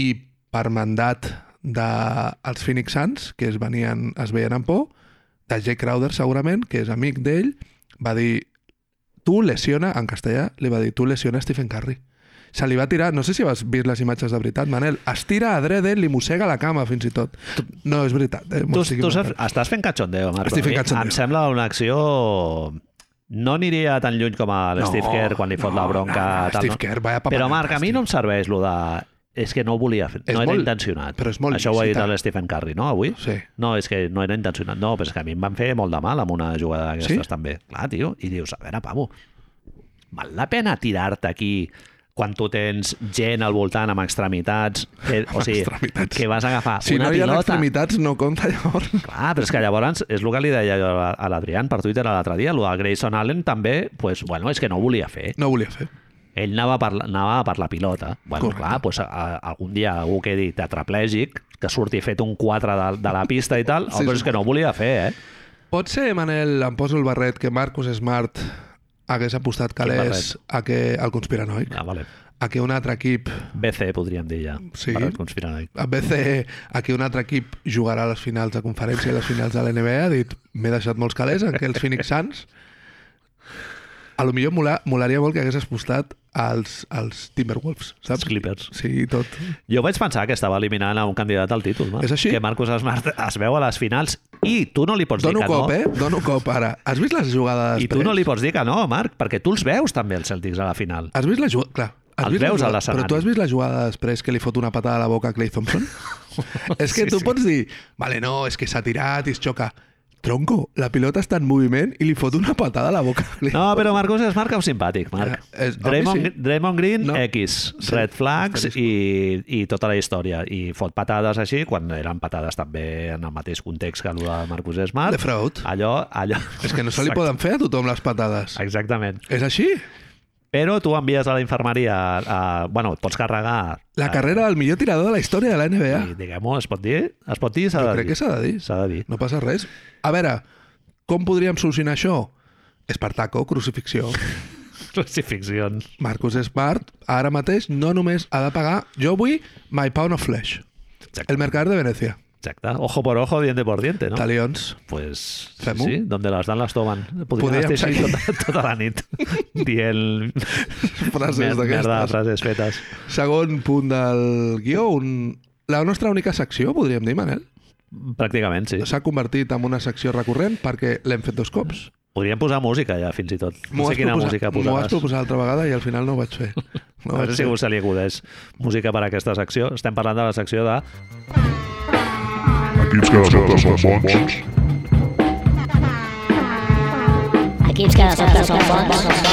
i per mandat dels els Phoenix Suns, que es, venien, es veien amb por, de Jake Crowder segurament, que és amic d'ell, va dir tu lesiona, en castellà, li va dir tu lesiona Stephen Curry. Se li va tirar, no sé si has vist les imatges de veritat, Manel, es tira a drede, li mossega la cama fins i tot. No, és veritat. Eh? m'ho Tu, estic tu inventant. saps- estàs fent cachondeo, Marc. Estic A fent mi cachondeo. Em sembla una acció... No aniria tan lluny com a no, Steve Kerr quan li fot la bronca. No, no, Ah, tal, Steve no? Kerr, vaya Però, papanata, Marc, a mi Steve. no em serveix lo de... És que no ho volia fer, És no era molt- intencionat. però és molt Això ho ha dit lícita. el Stephen Curry, no, avui? Sí. No, és que no era intencionat. No, però és que a mi em van fer molt de mal amb una jugada d'aquestes Sí? també. Clar, tio. I dius, a veure, Pavo, val la pena tirar-te aquí quan tu tens gent al voltant amb extremitats, que, o sigui, Extremitats. que vas a agafar Si una no hi ha pilota. extremitats, no compta llavors. Clar, però és que llavors, és el que li deia jo a a l'Adrián per Twitter l'altre dia, el de Grayson Allen també, pues, bueno, és que no ho volia fer. No ho volia fer. Ell anava per, la- anava per la pilota. Bueno, Correcte. clar, pues, a, a, algun dia algú quedi tetraplègic, que surti fet un 4 de, de la pista i tal, Sí, oh, però és sí. que no ho volia fer, eh? Pot ser, Manel, em poso el barret, que Marcus Smart hagués apostat calés a que el conspiranoic, Ah, vale. a que un altre equip, BC, podríem dir ja. Sí. Per conspirar. eh? a BCE, a que un altre equip jugarà a les finals de conferència i a les finals de l'NBA, ha dit, m'he deixat molts calés en que els Phoenix Suns a lo millor mola, molaria molt que hagués apostat als, als Timberwolves, Els saps? Clippers. Doncs Sí, i tot. Jo vaig pensar que estava eliminant a un candidat al títol, Marc. És així? Que Marcus Smart es veu a les finals i tu no li pots Dono dir que cop, no. eh? Dono cop, ara. Has vist les jugades I tu no li pots dir que no, Marc, perquè tu els veus també els Celtics a la final. Has vist la jugada? Clar. Has Els vist la veus a jugada- l'escenari. Però tu has vist la jugada després que li fot una patada a la boca a Clay Thompson? és que Sí, tu sí. pots dir, vale, no, és que s'ha tirat i es xoca. Tronco, la pilota està en moviment i li fot una patada a la boca a Clay No, però Marcus Smart cau simpàtic, Marc. Ja, Ah, Eh, és- Draymond, home, sí. Draymond Green, No. no. X, Sí, red flags asterisco. i, i tota la història. I fot patades així, quan eren patades també en el mateix context que el de Marcus Smart. De fraud. Allò, allò... És que no se li poden fer a tothom les patades. Ah, Exactament. És així? Però tu envies a la infermeria... A, a, bueno, et pots carregar... La a- carrera del millor tirador de la història de la NBA. I, diguem-ho, es pot dir? Es pot dir i s'ha Jo de crec dir. que s'ha de dir. S'ha de dir. No passa res. A veure, com podríem solucionar això? Espartaco, crucifixió. Crucifixions. Marcus Smart ara mateix no només ha de pagar jo vull my pound of flesh Exacte. el mercat de Venècia Exacte. Ojo por ojo, diente por diente, no? talions Pues sí, Fem-ho. sí, donde las dan las toman. Podríem Podríem estar així tota, tota la nit dient frases mer- merda de d'aquestes frases fetes. segon punt del guió un... la nostra única secció podríem dir Manel Pràcticament, sí. s'ha convertit en una secció recurrent perquè l'hem fet dos cops Podríem posar música ja, fins i tot. M'ho No sé has quina proposat- música m'ho has posaràs. proposat altra vegada i al final no ho vaig fer no No, ho no sé si vaig fer. algú se li acudeix música per a aquesta secció. Estem parlant de la secció de Equips que de sobte són bons, Equips que de sobte són bons.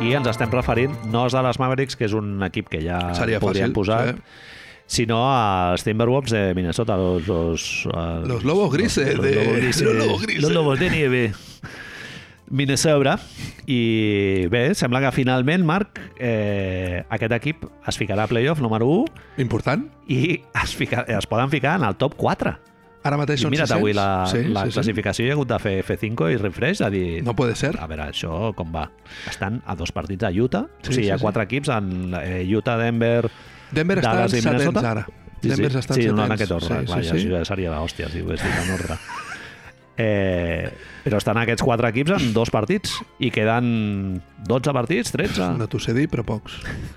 i ens estem referint no als Dallas Mavericks, que és un equip que ja Seria podríem fàcil, posar, sí. sinó als Timberwolves de Minnesota, los, los, eh, Los lobos grises los, de- lobos grises, los lobos grises. los lobos de nieve. Minnesota. I bé, sembla que finalment, Marc, eh, aquest equip es ficarà a playoff número 1 important i es, fica, es poden ficar en el top 4. ara mateix I són mira't 600 avui la, sí, la sí, sí. classificació, Ah. hi ha hagut de fer F5 i refresh, a dir... no puede ser A veure, això com va? Estan a dos partits a Utah, Sí, o sigui, hi ha sí, sí. quatre equips, en eh, Utah, Denver... Denver està Dallas en i setens Minnesota. ara Sí, Denver sí, està en sí, no en setens. aquest ordre, Sí, sí, clar, sí, ja, sí. ja seria l'hòstia si ho hagués dit en ordre. Eh, però estan aquests quatre equips en dos partits i queden 12 partits, 13, No t'ho sé dir, però pocs.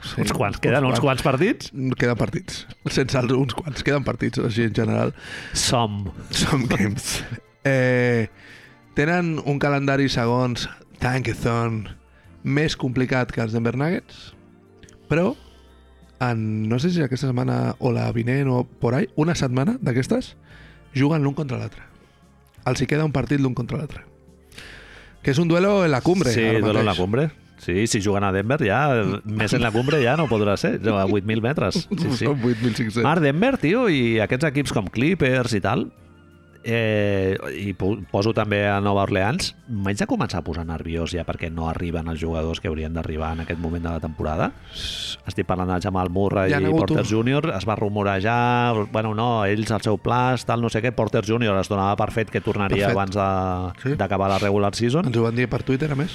Sí, uns quants, queden uns quants partits. Queden partits. Sense els uns quants. Queden partits, així en general. Som. Some games. Eh, tenen un calendari segons Tankathon més complicat que els Denver Nuggets, però en, no sé si aquesta setmana o la vinent o por ahí, una setmana d'aquestes, juguen l'un contra l'altre. Els hi queda un partit l'un contra l'altre. Que és un duelo en la cumbre. Sí, ara duelo en la mateix. cumbre. Sí, si juguen a Denver ja, més en la cumbre ja no podrà ser, no, a 8.000 metres. Sí, sí. Són 8.500. Mar Denver, tio, i aquests equips com Clippers i tal, eh, i po- poso també a Nova Orleans, m'haig de començar a posar nerviós ja perquè no arriben els jugadors que haurien d'arribar en aquest moment de la temporada. Estic parlant de Jamal Murray Ja ja n'ha i hagut Porter un. Jr. Es va rumorar ja, bueno, no, ells, el seu pla, tal, no sé què, Porter Jr. es donava per fet que tornaria Per fet. abans de- Sí. d'acabar la regular season. Ens ho van dir per Twitter, a més.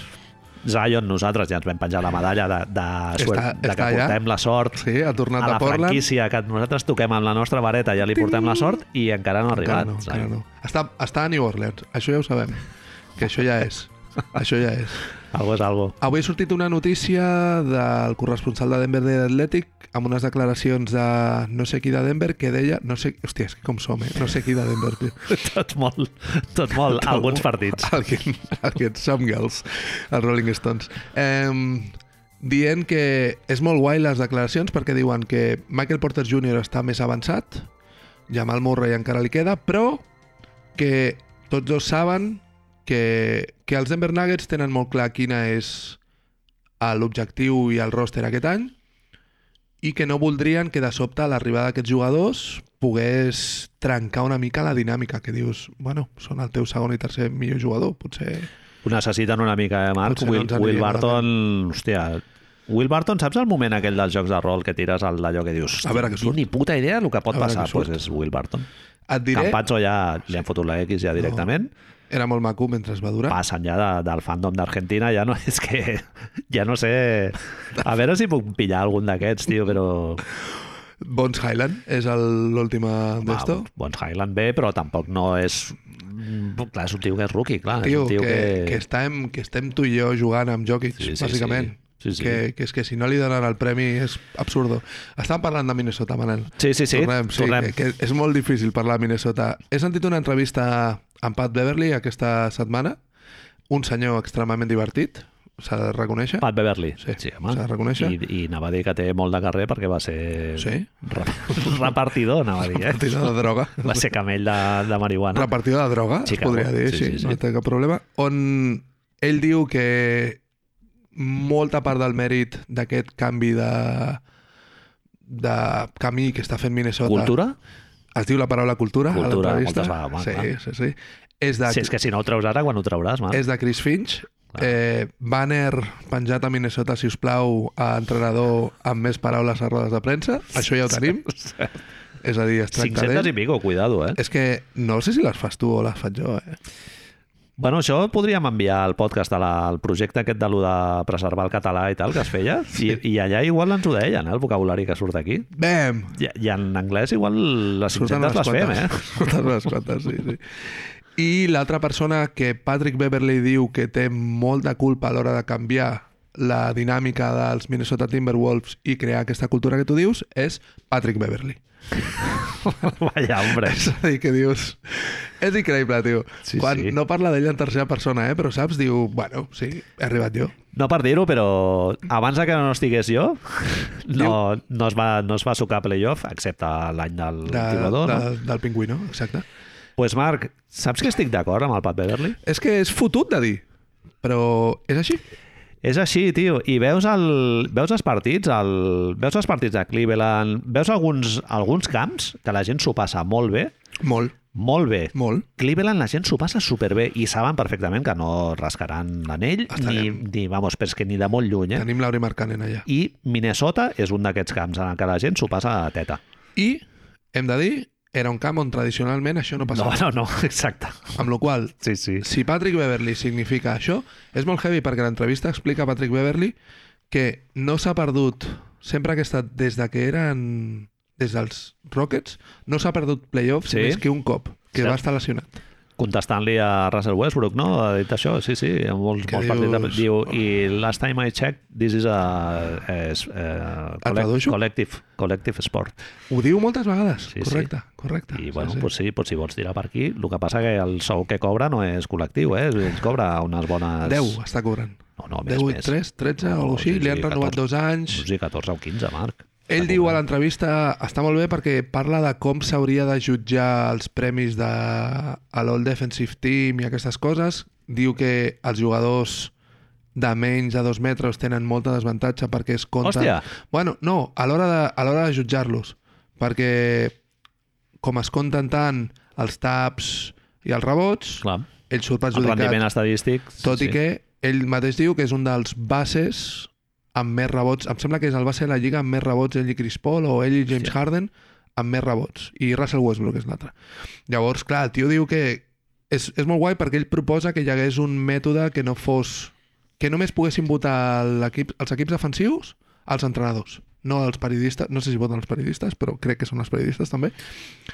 Zion, nosaltres ja ens vam penjar la medalla de, de, suert, Està- de que està allà. portem la sort Sí, ha tornat a a, la Portland. franquícia, que nosaltres toquem amb la nostra vareta, ja li portem la sort i encara no ha Encara arribat. no, Zion. encara no. Està, està a New Orleans, això ja ho sabem. Que això ja és. Això ja és. Algo és algo. Avui ha sortit una notícia del corresponsal de Denver de l'Atlètic amb unes declaracions de no sé qui de Denver que deia... No sé, hòstia, és que com som, eh? No sé qui de Denver, tio. Tot molt, tot molt, alguns partits. Alguien, alguien, some girls, els Rolling Stones. Em, dient que és molt guai les declaracions perquè diuen que Michael Porter Jr. està més avançat, Jamal Murray encara li queda, però que tots dos saben que, que els Denver Nuggets tenen molt clar quina és a l'objectiu i al roster aquest any i que no voldrien que de sobte l'arribada d'aquests jugadors pogués trencar una mica la dinàmica, que dius, bueno, són el teu segon i tercer millor jugador, potser... Ho necessiten una mica, eh, Marc? Potser no Will, ens eh? aniria Will Barton, hòstia... Will Barton, saps el moment aquell dels jocs de rol que tires al d'allò que dius A veure què surt." ni puta idea del que pot A veure passar? què surt. Doncs pues és Will Barton. Et diré, Campazzo ja li han fotut la X ja directament. era molt maco mentre es va durar. passen ja de, del fandom d'Argentina, ja no és que... Ja no sé... A veure si puc pillar algun d'aquests, tio, però... Bones Highland és el- l'última d'esto. Bons Highland bé, però tampoc no és... Mm, Clar, és un tio que és rookie, clar. Tio, és un tio que, que, estem, que estem tu i jo jugant amb Jokic, Sí, sí, bàsicament. sí. Sí, sí. Que, que és que si no li donen el premi és absurdo. Estàvem parlant de Minnesota, Manel. Sí, sí, sí. Tornem, sí, tornem. Que, que és molt difícil parlar a Minnesota. He sentit una entrevista amb Pat Beverly aquesta setmana, un senyor extremament divertit, s'ha de reconèixer. Pat Beverly. Sí, s'ha de reconèixer. I, I anava a dir que té molt de carrer perquè va ser Sí. rep- repartidor, anava a dir, eh? Repartidor de droga. Va ser camell de, de marihuana. Repartidor de droga, es Chicago. podria dir, Sí, sí, sí, sí. no té cap problema. On ell diu que molta part del mèrit d'aquest canvi de de camí que està fent Minnesota. Cultura? Es diu la paraula cultura, a Cultura, l'entrevista. moltes vegades, Sí, clar. sí, sí. És de, Si és que si no ho treus ara, quan ho trauràs, Marc? és de Chris Finch. Clar. Eh, banner penjat a Minnesota, si us plau, a entrenador amb més paraules a rodes de premsa. Això ja ho tenim. És a dir, es tracta 500 d'ell. i pico, cuidado, eh? És que no sé si les fas tu o les faig jo, eh? Bueno, això podríem enviar al podcast, a la- al projecte aquest de lo de preservar el català i tal, que es feia, sí. i, i allà igual ens ho deien, eh, el vocabulari que surt aquí. Bam! I, I en anglès igual les 500 les fem, eh? Surten unes quantes, sí, sí. I l'altra persona que Patrick Beverly diu que té molta culpa a l'hora de canviar la dinàmica dels Minnesota Timberwolves i crear aquesta cultura que tu dius és Patrick Beverly. Vaya, eh? hombre. És a dir, que dius... És increïble, tio. Sí, Quan sí. no parla d'ell en tercera persona, eh? però saps, diu, bueno, sí, he arribat jo. No per dir-ho, però abans de que no estigués jo, no, no, es, va, no es va sucar a playoff, excepte l'any del De, jugador, de, no? Del pingüino, exacte. pues Marc, saps que estic d'acord amb el Pat Beverly? És que és fotut de dir, però és així. És així, tio. I veus, el, veus els partits, el, veus els partits de Cleveland, veus alguns, alguns camps que la gent s'ho passa molt bé, Molt, molt bé. molt. Cleveland la gent s'ho passa superbé i saben perfectament que no rascaran l'anell ni, Estarem. ni, vamos, però és que ni de molt lluny, eh? Tenim l'Auri Marcanen allà. I Minnesota és un d'aquests camps en què la gent s'ho passa a teta. I, hem de dir, era un camp on tradicionalment això no No, passava. no, no, exacte. Amb la qual cosa, Sí, sí. si Patrick Beverly significa això, és molt heavy perquè l'entrevista explica a Patrick Beverly que no s'ha perdut, sempre que ha estat des de que eren des dels Rockets, no s'ha perdut playoffs Sí. sí? més que un cop, que Cert. va estar lesionat. Contestant-li a Russell Westbrook, no? Ha dit això, sí, sí, en molts, Què molts partits. de- dius? Diu, i last time I checked, this is a, és, eh, El Ah, tradueixo? collective, collective sport. Ho diu moltes vegades, Sí, sí. sí, correcte, Ah, sí. correcte. I, bueno, sí, sí. Pues sí, pues si vols tirar per aquí, el que passa que el sou que cobra no és col·lectiu, eh? Ell cobra unes bones... 10 està cobrant. No, no, més, 18, més. 3, 13 o alguna cosa així, li han renovat dos anys. Sí, 14 o 15, Marc. Ell diu a l'entrevista, està molt bé perquè parla de com s'hauria de jutjar els premis de a l'All Defensive Team i aquestes coses. Diu que els jugadors de menys de dos metres tenen molta desavantatge perquè es compta... Hòstia! Bueno, no, a l'hora de, a l'hora de jutjar-los, perquè com es compten tant els taps i els rebots, Clar, ell surt el rendiment perjudicat, estadístic... sí, tot i sí. que ell mateix diu que és un dels bases amb més rebots, em sembla que és el base de la lliga amb més rebots, ell i Chris Paul, o ell i James Hòstia. Harden, amb més rebots, i Russell Westbrook és l'altre. Llavors, clar, el tio diu que és, és molt guai perquè ell proposa que hi hagués un mètode que no fos... que només poguessin votar l'equip, els equips defensius als entrenadors, no als periodistes, no sé si voten els periodistes, però crec que són els periodistes també.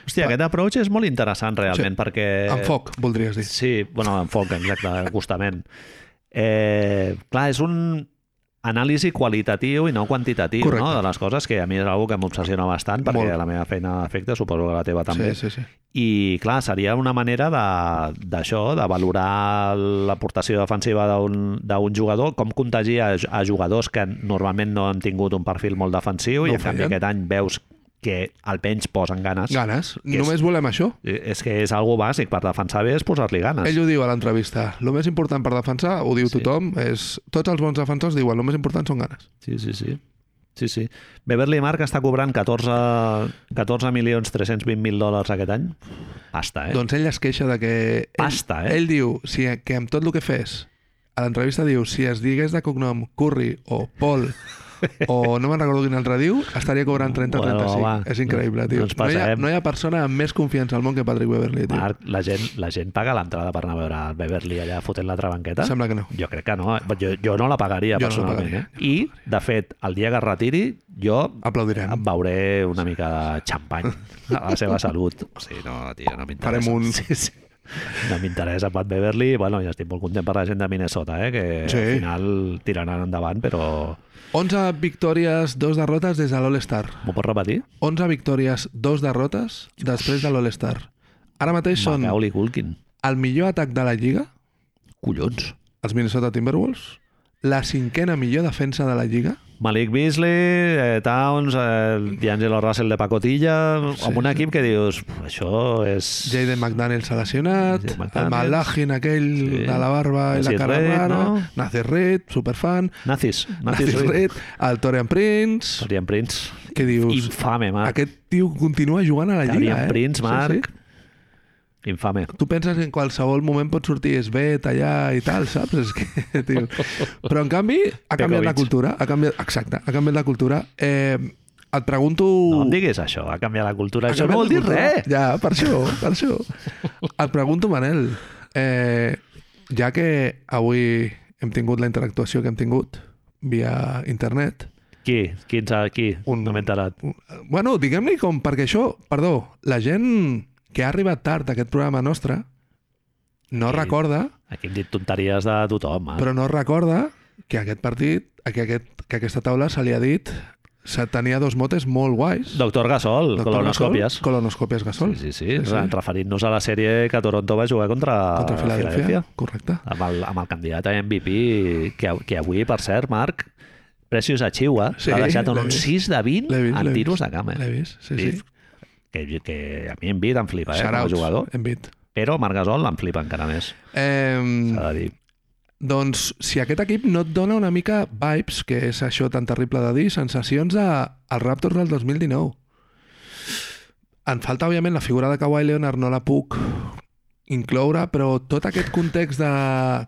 Hòstia, aquest approach és molt interessant realment, Sí. perquè... Eh... Amb foc, voldries dir. Sí, bueno, enfoc, exacte, acostament. Eh, clar, és un anàlisi qualitatiu i no quantitatiu Correcte. no? de les coses, que a mi és una que m'obsessiona bastant, perquè Molt. la meva feina afecta, suposo que la teva també. Sí, sí, sí. I, clar, seria una manera de- d'això, de, de valorar l'aportació defensiva d'un d'un jugador, com contagia a, a jugadors que normalment no han tingut un perfil molt defensiu No i, ho en canvi, feien. aquest any veus que almenys posen ganes. Ganes. és- Només volem això. Eh, És que és algo bàsic per defensar bé és posar-li ganes. Ell ho diu a l'entrevista. El més important per defensar, ho diu Sí. sí. tothom, és... Tots els bons defensors diuen el més important són ganes. Sí, sí, sí. Sí, sí. Beverly Mark està cobrant 14, 14 milions 320 mil dòlars aquest any. Pasta, eh? Doncs ell es queixa de que... Ell, Pasta, eh? Ell diu si, que amb tot el que fes, a l'entrevista diu, si es digués de cognom Curry o Paul o no me'n recordo quin altre diu, estaria cobrant 30-35. Bueno, va. és increïble, tio. No ens no, hi ha, passarem. no hi ha persona amb més confiança al món que Patrick Beverly, tio. Marc, la gent, la gent paga l'entrada per anar a veure el Beverly allà fotent la trabanqueta? Sembla que no. Jo crec que no. eh? Jo, jo no la pagaria, Jo no la personalment. pagaria, eh? I, de fet, el dia que es retiri, jo Aplaudirem. em veuré una mica de xampany a la seva salut. Sí, no, tio, no m'interessa. Farem un- Sí, sí. No m'interessa Pat Beverly. Bueno, ja estic molt content per la gent de Minnesota, eh? que Sí. al final tiraran endavant, però... 11 victòries, 2 derrotes des de l'All-Star. M'ho pots repetir? 11 victòries, 2 derrotes després de l'All-Star. Ara mateix Són... són Macaulay Culkin. el millor atac de la Lliga, Collons. els Minnesota Timberwolves, la cinquena millor defensa de la Lliga, Malik Beasley, eh, Towns, eh, D'Angelo Russell de pacotilla, sí, amb un equip que dius, això és... Jaden McDaniel s'ha lesionat, Jaden el McDaniels. Malagin aquell Sí. de la barba i la Nazir cara Reid, rara, no? Nazir Reid, superfan, Nazis. Nazis, Nazir Nazis Reid, el Torian Prince, Darian Prince. que dius, Infame, Marc. aquest tio continua jugant a la Lliga, Darian eh? Prince, Sí, Marc. sí. Infame. Tu penses que en qualsevol moment pot sortir es bé, tallar i tal, saps? És que, tio. Però en canvi, ha canviat la Pekovic. cultura, ha canviat, exacte, ha canviat la cultura. Eh, et pregunto... No em diguis això, ha canviat la cultura. Uh. Ha Això no vol dir canviat la res. cultura. Ja, per això, per això. Et pregunto, Manel, eh, ja que avui hem tingut la interactuació que hem tingut via internet, Qui? Quins, eh, qui? Un- No m'he enterat. bueno, diguem-li com, perquè això, perdó, la gent que ha arribat tard a aquest programa nostre no Sí. recorda, Aquí hem dit tonteries de tothom, Marc. però no recorda que aquest partit, que, aquest, que aquesta taula se li ha dit se tenia dos motes molt guais. Doctor Gasol, Doctor colonoscòpies. Gasol, Colonoscòpies Gasol. Sí, sí, sí. sí, sí. Referint-nos a la sèrie que Toronto va jugar contra, Contra Filadèlfia, Filadèlfia. correcte. amb el, amb el candidat a MVP, que, que avui, per cert, Marc, Precious Achiuwa Sí, sí, l'ha deixat en l'he un vist. 6 de 20 L'he vist, en l'he tiros vist. de cama. eh? L'he vist, sí, sí. Que, que a mi em vit em flipa, eh, com a Shoutouts, jugador. Embiid. Però Marc Gasol em flipa encara més, Em, s'ha de dir. doncs, si aquest equip no et dona una mica vibes, que és això tan terrible de dir, sensacions de els Raptors del 2019. En falta, òbviament, la figura de Kawhi Leonard, no la puc incloure, però tot aquest context de...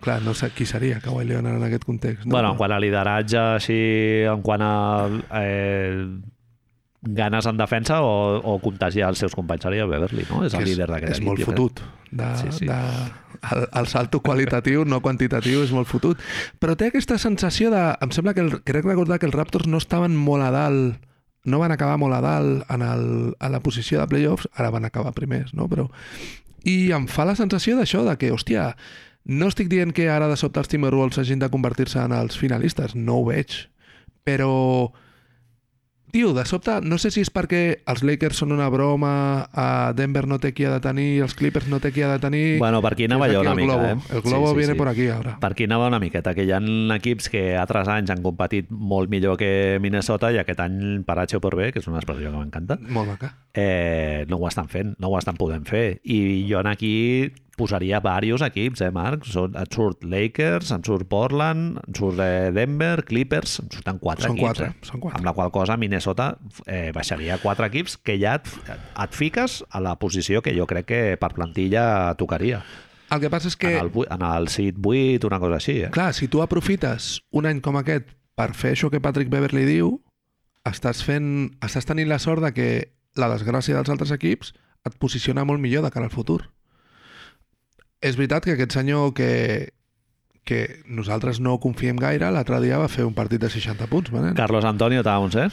Clar, no sé qui seria Kawhi Leonard en aquest context. No? bueno, en Però- quant a lideratge, així, en quant a eh, ganes en defensa o, o contagiar els seus companys, seria Beverly, no? És que el líder d'aquest És equip. molt jo crec. fotut. De, sí, Sí, sí. sí. De, el, el salto qualitatiu, no quantitatiu, és molt fotut. Però té aquesta sensació de... Em sembla que el, crec recordar que els Raptors no estaven molt a dalt no van acabar molt a dalt en el, a la posició de playoffs, ara van acabar primers, no? Però... I em fa la sensació d'això, de que, hòstia, no estic dient que ara de sobte els Timberwolves hagin de convertir-se en els finalistes, no ho veig, però Tio, de sobte, no sé si és perquè els Lakers són una broma, a Denver no té qui ha de tenir, els Clippers no té qui ha de tenir... Bueno, per aquí És anava jo aquí una el mica, globo. eh? El globo Sí, sí, viene sí. por aquí, ara. Per aquí anava una miqueta, que hi ha equips que altres anys han competit molt millor que Minnesota i aquest any, per H o per B, que és una expressió que m'encanta, Molt maca. eh, no ho estan fent, no ho estan podent fer. I jo en aquí posaria diversos equips, eh, Marc? Són, et surt Lakers, em surt Portland, em surt eh, Denver, Clippers, em surten quatre Són equips. quatre, eh? són quatre. Amb la qual cosa Minnesota eh, baixaria quatre equips que ja et, et fiques a la posició que jo crec que per plantilla tocaria. El que passa és que... En el, vuit- en el seed 8, una cosa així, eh? Clar, si tu aprofites un any com aquest per fer això que Patrick Beverly diu, estàs, fent, estàs tenint la sort de que la desgràcia dels altres equips et posiciona molt millor de cara al futur. És veritat que aquest senyor que, que nosaltres no confiem gaire, l'altre dia va fer un partit de 60 punts. Manen. Carlos Antonio Towns, eh?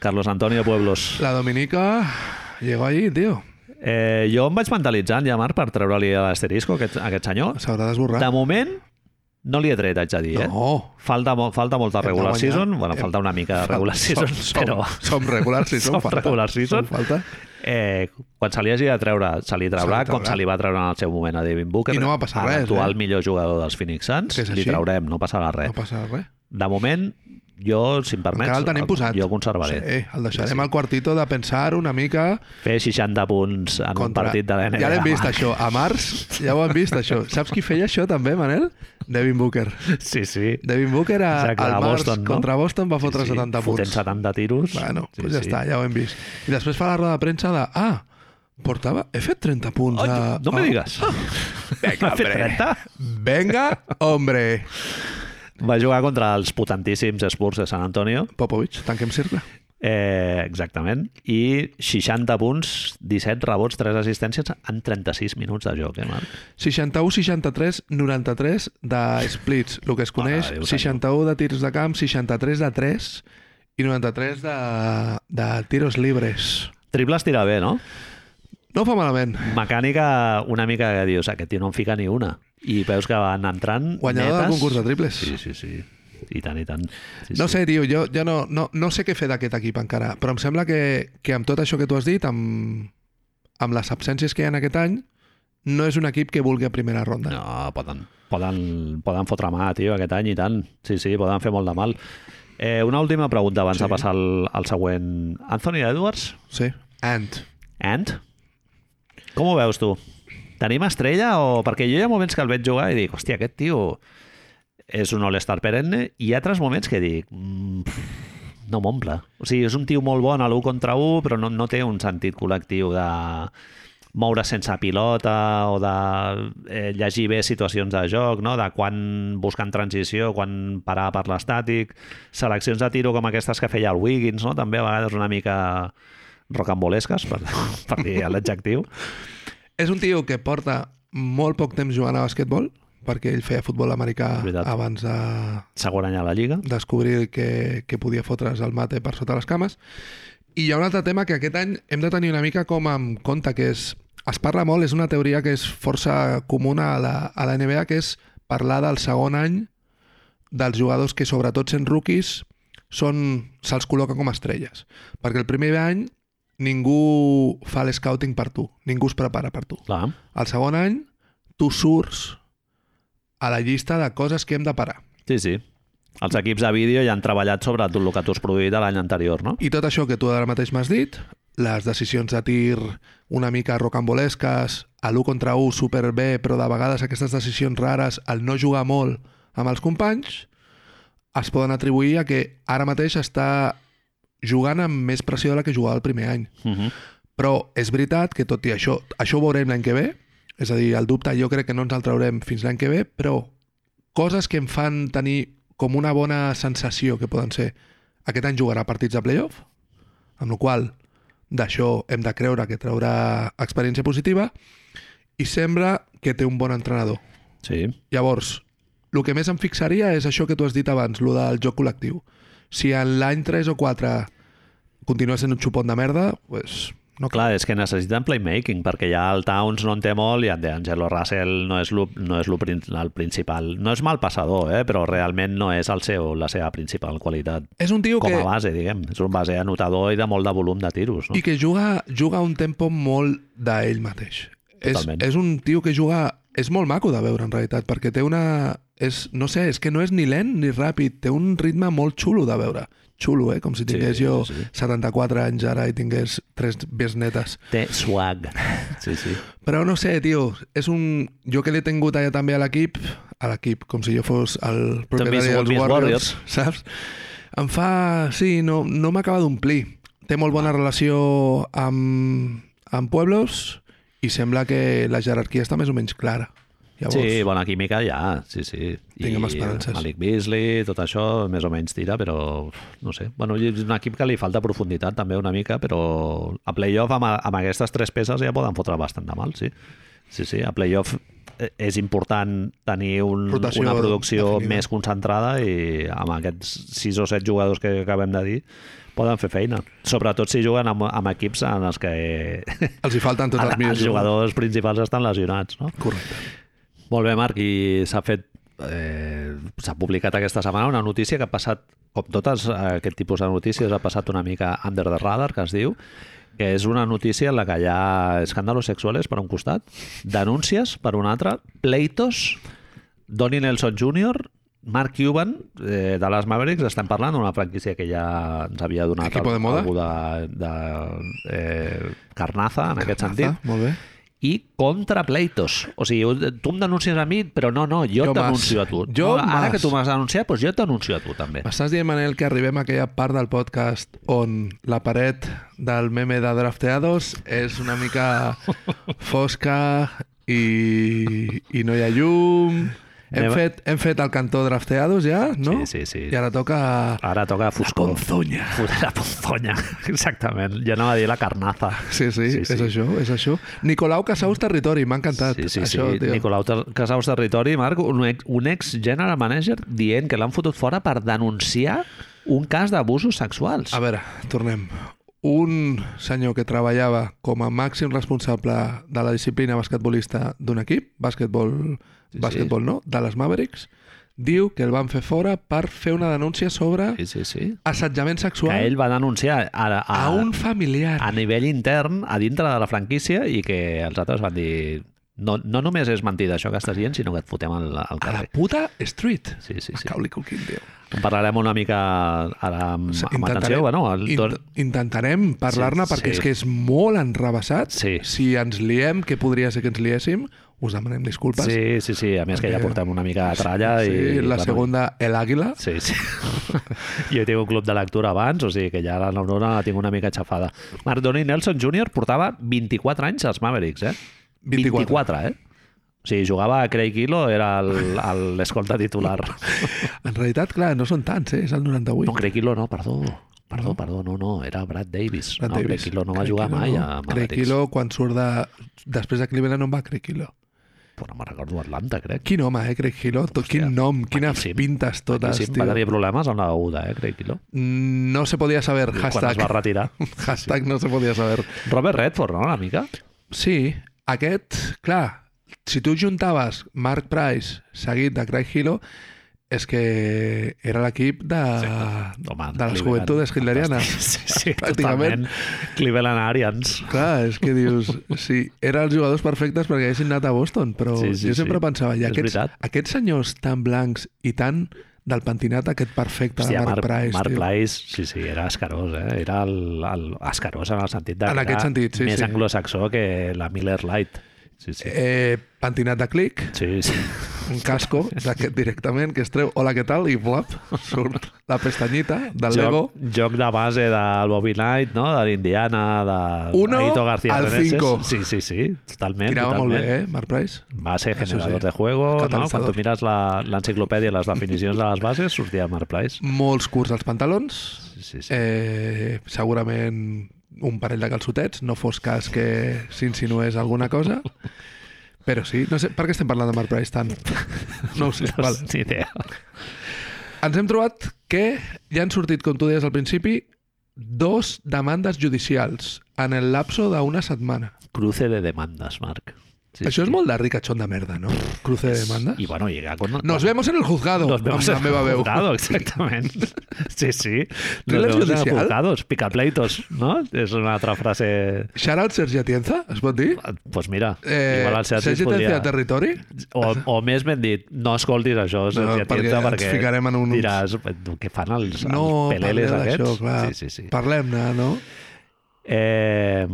Carlos Antonio Pueblos. La Dominica llegó allí, tio. Eh, jo em vaig mentalitzant ja, Marc, per treure-li l'asterisco a aquest, a aquest senyor. S'haurà d'esborrar. De moment, no li he tret, haig de dir, eh? No. Falta, mo falta molta Hem de regular guanyar. season, bueno, Hem- falta una mica de regular Som- season, som, però Som regular season. Som falta. regular season. Som falta. eh, quan se li hagi de treure, se li traurà, Se li com traurà. se li va treure en el seu moment a Devin Booker, I no va passar a res, l'actual eh? millor jugador dels Phoenix Suns, Que és li així. traurem, no passarà res. No passa res. De moment, jo, si em permets, Encara el tenim posat. jo el conservaré. Sí, el deixarem al quartito de pensar una mica Fer 60 punts en contra... un partit de la NBA. Ja l'hem vist, Marc. això. A març ja ho hem vist, això. Saps qui feia això, també, Manel? Devin Booker. Sí, sí. Devin Booker a, Exacte, al a març Boston, no? contra Boston va fotre 70 Fotent punts. 70 tiros. Bueno, sí, pues ja està, ja ho hem vist. I després fa la roda de premsa de... Ah, portava... He fet 30 punts. Ai, a... no me a- digues. Vinga, Ha fet oh. hombre. 30? Venga, hombre. Va jugar contra els potentíssims Spurs de San Antonio, Popovich, tanquem cercle. eh, exactament, i 60 punts, 17 rebots, 3 assistències en 36 minuts de joc, eh, Marc? 61, 63, 93 de splits, el que es coneix, Mare de Déu, 61 de tirs de camp, 63 de 3 i 93 de, de tiros libres. Triples tira bé, no? No ho fa malament. Mecànica una mica que dius, aquest tio no en fica ni una. I veus que van entrant Guanyador del netes. concurs de triples. Sí, sí, sí. I tant, i tant. Sí, No sí. sé, tio, jo, jo no, no, no sé què fer d'aquest equip encara, però em sembla que, que amb tot això que tu has dit, amb, amb les absències que hi ha en aquest any, no és un equip que vulgui a primera ronda. No, poden, poden, poden fotre mà, tio, aquest any i tant. Sí, sí, poden fer molt de mal. Eh, una última pregunta abans Sí. sí. de passar al, al següent. Anthony Edwards, Sí. And. and? Com ho veus tu? Tenim estrella o... Perquè jo hi ha moments que el veig jugar i dic, hòstia, aquest tio és un all-star perenne i hi ha altres moments que dic mm, pff, no m'omple. O sigui, és un tio molt bon a l'1 contra 1, però no, no té un sentit col·lectiu de moure sense pilota o de eh, llegir bé situacions de joc, no? de quan buscar en transició, quan parar per l'estàtic, seleccions de tiro com aquestes que feia el Wiggins, no? també a vegades una mica rocambolesques, per, per dir l'adjectiu. És un tio que porta molt poc temps jugant a basquetbol, perquè ell feia futbol americà És veritat. abans de Segon any a la Lliga. descobrir que, que podia fotre's el mate per sota les cames. I hi ha un altre tema que aquest any hem de tenir una mica com en compte, que és... Es parla molt, és una teoria que és força comuna a la, a la NBA, que és parlar del segon any dels jugadors que, sobretot sent rookies, són- se'ls col·loca com a estrelles. Perquè el primer any ningú fa l'escouting per tu, ningú es prepara per tu. Clar. El segon any, tu surts a la llista de coses que hem de parar. Sí, sí. Els equips de vídeo ja han treballat sobre tot el que tu has produït l'any anterior, no? I tot això que tu ara mateix m'has dit, les decisions de tir una mica rocambolesques, a l'1 contra 1 super bé, però de vegades aquestes decisions rares, el no jugar molt amb els companys, es poden atribuir a que ara mateix està jugant amb més pressió de la que jugava el primer any. Uh -huh. Però és veritat que tot i això, això ho veurem l'any que ve, és a dir, el dubte jo crec que no ens el traurem fins l'any que ve, però coses que em fan tenir com una bona sensació que poden ser aquest any jugarà partits de playoff, amb la qual cosa, d'això hem de creure que traurà experiència positiva i sembla que té un bon entrenador. Sí. Llavors, el que més em fixaria és això que tu has dit abans, lo del joc col·lectiu. Si en l'any 3 o 4 continua sent un xupon de merda, pues, No, Clar, és que necessiten playmaking, perquè ja el Towns no en té molt i en D'Angelo Russell no és, lo, no és lo, prin- el principal. No és mal passador, eh? però realment no és el seu, la seva principal qualitat. És un tio Com que... a base, diguem. És un base anotador i de molt de volum de tiros. No? I que juga, juga a un tempo molt d'ell mateix. És, Totalment. és un tio que juga... És molt maco de veure, en realitat, perquè té una... És, no sé, és que no és ni lent ni ràpid, té un ritme molt xulo de veure. Xulo, eh? Com si tingués sí, jo sí. 74 anys ara i tingués tres besnetes. Té swag. Sí, sí. Però no sé, tio, és un... Jo que l'he tingut allà també a l'equip, a l'equip, com si jo fos el També has propietari dels sigut Miss Warriors, Warriors. Warriors, saps? Em fa... Sí, no, no m'acaba d'omplir. Té molt bona relació amb, amb Pueblos i sembla que la jerarquia està més o menys clara. Llavors, Sí, bona química ja, sí, sí. Tinguem esperances. Malik Beasley, tot això, més o menys tira, però no sé. Bueno, i és un equip que li falta profunditat també una mica, però a playoff amb, amb aquestes tres peces ja poden fotre bastant de mal, sí. Sí, sí, a playoff eh, és important tenir un, Rotació una producció definida. més concentrada i amb aquests sis o set jugadors que acabem de dir poden fer feina. Sobretot si juguen amb, amb equips en els que els hi falten tots ara els millors els jugadors principals estan lesionats, no? Correcte. Molt bé, Marc, i s'ha fet eh, s'ha publicat aquesta setmana una notícia que ha passat, com totes eh, aquest tipus de notícies, ha passat una mica under the radar, que es diu, que és una notícia en la que hi ha escàndalos sexuals per un costat, denúncies per un altre, pleitos, Donnie Nelson Jr., Mark Cuban, eh, de les Mavericks, estem parlant d'una franquícia que ja ens havia donat Equipo de al- moda. algú de, de eh, carnaza, en aquest sentit Ah, molt bé. i contra pleitos. O sigui, tu em denuncies a mi, però no, no, jo, Jo t'anuncio a mas. tu. Jo no, ara mas. que tu m'has denunciat, doncs jo t'anuncio a tu també. M'estàs dient, Manel, que arribem a aquella part del podcast on la paret del meme de Drafteados és una mica fosca i, i no hi ha llum... Hem Anem a- fet, hem fet el cantó Drafteados ja, no? Sí, sí, sí. I ara toca... Ara toca foscor. Conzonya. Fotre La ponzonya. Exactament. Jo anava a dir la carnaza. Sí, sí, sí, sí, és això, és això. Nicolau Casaus Territori, m'ha encantat. Sí, sí, això, sí. tio. Nicolau Ter- Casaus Territori, Marc, un ex, un ex general manager dient que l'han fotut fora per denunciar un cas d'abusos sexuals. A veure, tornem. Un senyor que treballava com a màxim responsable de la disciplina basquetbolista d'un equip, bàsquetbol, Sí, sí, bàsquetbol no, de les Mavericks, diu que el van fer fora per fer una denúncia sobre Sí, sí, sí. assetjament Que sexual ell va denunciar a, a, a un familiar. a nivell intern, a dintre de la franquícia, i que els altres van dir no, no només és mentida això que estàs dient, sinó que et fotem al, al A la carrer. puta street. Sí, sí, sí. Cauli Culquín, tio. En parlarem una mica ara amb, amb atenció. Intentarem, Bueno, el, int don... intentarem parlar-ne Sí, perquè sí. és que és molt enrabassat. Sí. Si ens liem, que podria ser que ens liéssim, us demanem disculpes. Sí, sí, sí. A més que ja portem una mica de tralla. Eh, Sí, i, la bueno, segunda, El Águila. Sí, sí. jo tinc un club de lectura abans, o sigui que ja la neurona la tinc una mica aixafada. Marc Donnie Nelson Jr. portava 24 anys als Mavericks, eh? 24. 24 eh? O sigui, jugava a Craig Hilo, era el- el- l'escolta titular. En realitat, clar, no són tants, eh? és el 98. No, Craig Hilo no, perdó. Perdó, perdó, no, no, era Brad Davis. Brad no, Davis. Craig Hilo no va Craig jugar Hilo mai no. a Craig Mavericks. Hilo, quan surt de... Després de Cleveland, on va Craig Hilo? Però no me'n recordo Atlanta, crec. Quin home, eh, Craig Hilo? Tot, quin nom, quines maquíssim. pintes totes, Sí, va tio. Mm, tenir problemes amb la beguda, eh, Craig Hilo. No se podia saber, Quan es va hashtag. retirar. Hashtag no se podia saber. Robert Redford, no, una mica? Sí, aquest, clar, si tu juntaves Mark Price seguit de Craig Hilo, és que era l'equip de, Home, Ah, de les Cleveland. juventudes hitlerianes. Sí, sí, Pràcticament. totalment. Cleveland Arians. Clar, és que dius... Sí, eren els jugadors perfectes perquè haguessin anat a Boston, però Sí, sí, sí, sí, jo sempre sí. sí. pensava, i És aquests, veritat. aquests senyors tan blancs i tan del pentinat aquest perfecte Hòstia, de Mark, Marc, Price, Marc tio. Price, sí, sí, era escarós, eh? Era el, el escarós en el sentit de En que aquest era sentit, sí, més sí. anglosaxó que la Miller Lite. Sí, sí. Eh, pentinat de clic, Sí, sí. un casco d'aquest directament que es treu hola, què tal? I blop, surt la pestanyita del Lego. Joc, joc de base del Bobby Knight, no? de l'Indiana, de Uno Aito García al Reneses. cinco. Sí, sí, sí, totalment. Tirava molt totalment. bé, eh, Mark Price? Va ser Això generador sí. de juego, no? Catalitzador. Quan tu mires la- l'enciclopèdia i les definicions de les bases, sortia Mark Price. Molts curts als pantalons, Sí, sí, sí. eh, segurament un parell de calçotets, no fos cas que s'insinués alguna cosa. Però sí, no sé, per què estem parlant de Mark Price tant? No ho sé, No vale. Ni idea. Ens hem trobat que ja han sortit, com tu deies al principi, dos demandes judicials en el lapso d'una setmana. Cruce de demandes, Marc. Sí, Això és sí. molt de ricachón de merda, no? Cruce de demandes. I bueno, llega con... Nos vemos en el juzgado, Nos vemos amb la en meva el veu. juzgado, exactament. Sí, sí. Nos Thriller vemos en el judicial? juzgados, picapleitos, no? És una altra frase... Shoutout Sergi Atienza, es pot dir? Doncs pues mira, Eh, igual el Sergi Sergi Atienza podria... a territori? O, o més ben dit, no escoltis això, No, Sergi perquè Atienza, ens perquè, ficarem en un- diràs què fan els, No, els peleles parlem aquests. d'això, clar. Sí, sí, sí. Parlem-ne, no? Eh,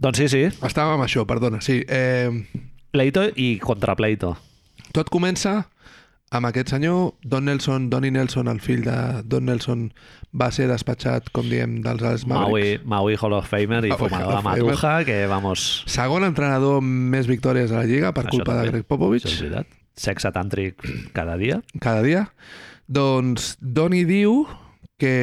doncs sí, sí, Estàvem amb això, perdona, sí. Eh, pleito i contrapleito. tot comença amb aquest senyor, Don Nelson, Donnie Nelson, el fill de Don Nelson, va ser despatxat, com diem, dels Ales Mavericks. Maui, Maui Hall of Famer i Maui fumador Hall de of Famer. matuja, que vamos... Segon entrenador amb més victòries a la Lliga per Això culpa de també. Greg Això és Popovich, veritat. Sexe tàntric cada dia. cada dia. Doncs Donnie diu que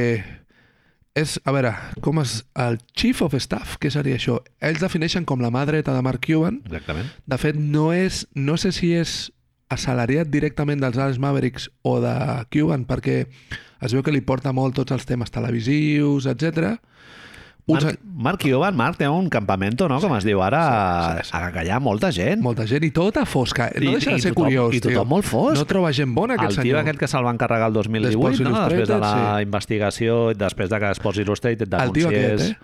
és, a veure, com és el chief of staff, què seria això? Ells defineixen com la mà dreta de Mark Cuban, Exactament. De fet, no és... No sé si és assalariat directament dels Dallas Mavericks o de Cuban, perquè es veu que li porta molt tots els temes televisius, etc. Uns, Marc, Marc Cuban, Marc, té un campamento, no? Com es diu ara, Sí, sí, sí. a que hi ha molta gent. Molta gent i tota fosca. I- No deixa i de ser tothom- curiós, i tothom tio. molt fosc. No troba gent bona, el Ah, aquest tio senyor. aquest que se'l va encarregar el 2018, D'Sports no? després de la Illustrated, sí. investigació, després de que Sports Illustrated El tio denunciés aquest, eh?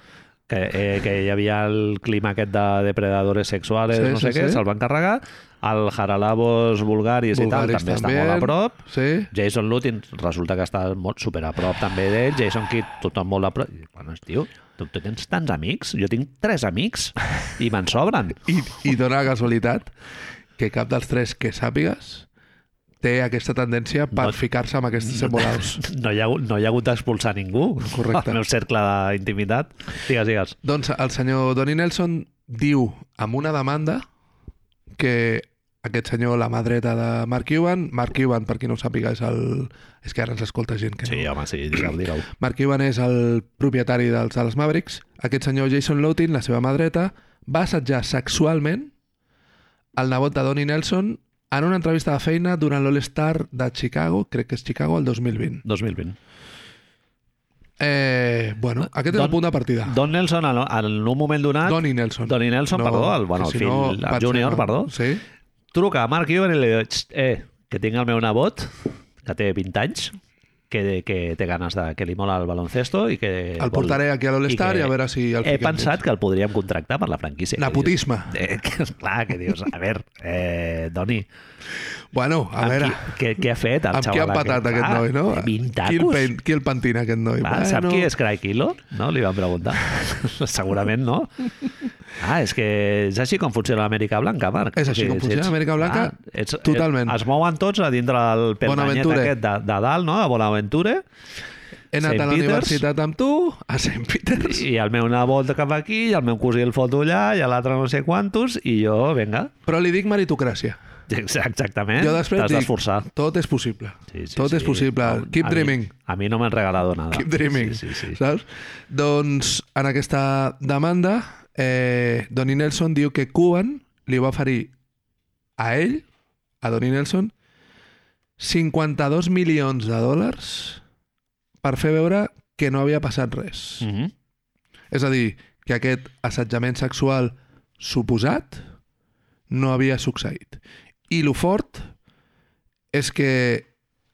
que, eh, que hi havia el clima aquest de depredadores sexuals, Sí, no sé sí, què, sí. se'l va encarregar. El Haralabos Bulgaris, Bulgaris i tal, també, també. està molt a prop. Sí. Jason Lutin resulta que està molt super a prop també d'ell, Jason Kidd tothom molt a prop. I, bueno, tio, tu, tu tens tants amics? Jo tinc tres amics i me'n sobren. I, I dona la casualitat que cap dels tres que sàpigues té aquesta tendència per No- ficar-se amb aquests embolaus. No hi ha, hagut- no hi ha hagut d'expulsar ningú Correcte. al meu cercle d'intimitat. Digues, digues. Doncs el senyor Donnie Nelson diu amb una demanda que aquest senyor, la mà dreta de Mark Cuban, Mark Cuban, per qui no ho sàpiga, és el... És que ara ens escolta gent que no. Sí, home, sí, digueu, digueu. Mark Cuban és el propietari dels Dallas Mavericks. Aquest senyor Jason Lowtin, la seva mà dreta, va assetjar sexualment el nebot de Donnie Nelson en una entrevista de feina durant l'All-Star de Chicago, crec que és Chicago, el 2020. 2020. Eh, bueno, aquest és Don- el punt de partida. Don Nelson, en, en un moment donat, Don... Donnie Nelson. Ah, Donnie Nelson, perdó, el- bueno, que el fill, el pot ser, júnior, perdó. Eh, Sí. truca a Mark Cuban i li diu "Xt, eh, que tinc el meu nebot, que té 20 anys, que, que té ganes de... que li mola el baloncesto i que... El portaré aquí a l'All-Star i a veure si el He fiquem pensat que el podríem contractar per la franquícia. Nepotisme. Eh, que, clar, que dius, a veure, eh, Doni, Bueno, a amb veure... qui, què, què ha fet el Amb qui ha xaval empatat aquest, Clar, noi, no? té 20 Qui el, tacos. pen, qui el pentina, aquest noi? Ah, bueno, sap qui és Craig Kilo? No? Li van preguntar. Segurament no. Ah, és que és així com funciona l'Amèrica Blanca, Marc. És així com funciona l'Amèrica Blanca, totalment. Ah, Es mouen tots a dintre del pertanyet Bonaventure. aquest de, de dalt, no? a Bonaventure, He anat Saint a la Peters. universitat amb tu, a St. Peters. i el meu nebot cap aquí, i el meu cosí el foto allà, i l'altre no sé quantos, i jo, vinga, Però li dic meritocràcia. exactament, Jo després t'has dic, d'esforçar. tot és possible. Sí, sí, tot sí. és possible. Home, Keep a mi- dreaming. A mi no m'han regalat nada. Keep dreaming, Sí, sí, sí. saps? Doncs en aquesta demanda, eh, Donnie Nelson diu que Cuban li va oferir a ell, a Donnie Nelson, 52 milions de dòlars per fer veure que no havia passat res. Mm. Mhm. És a dir, que aquest assetjament sexual suposat no havia succeït. I lo fort és que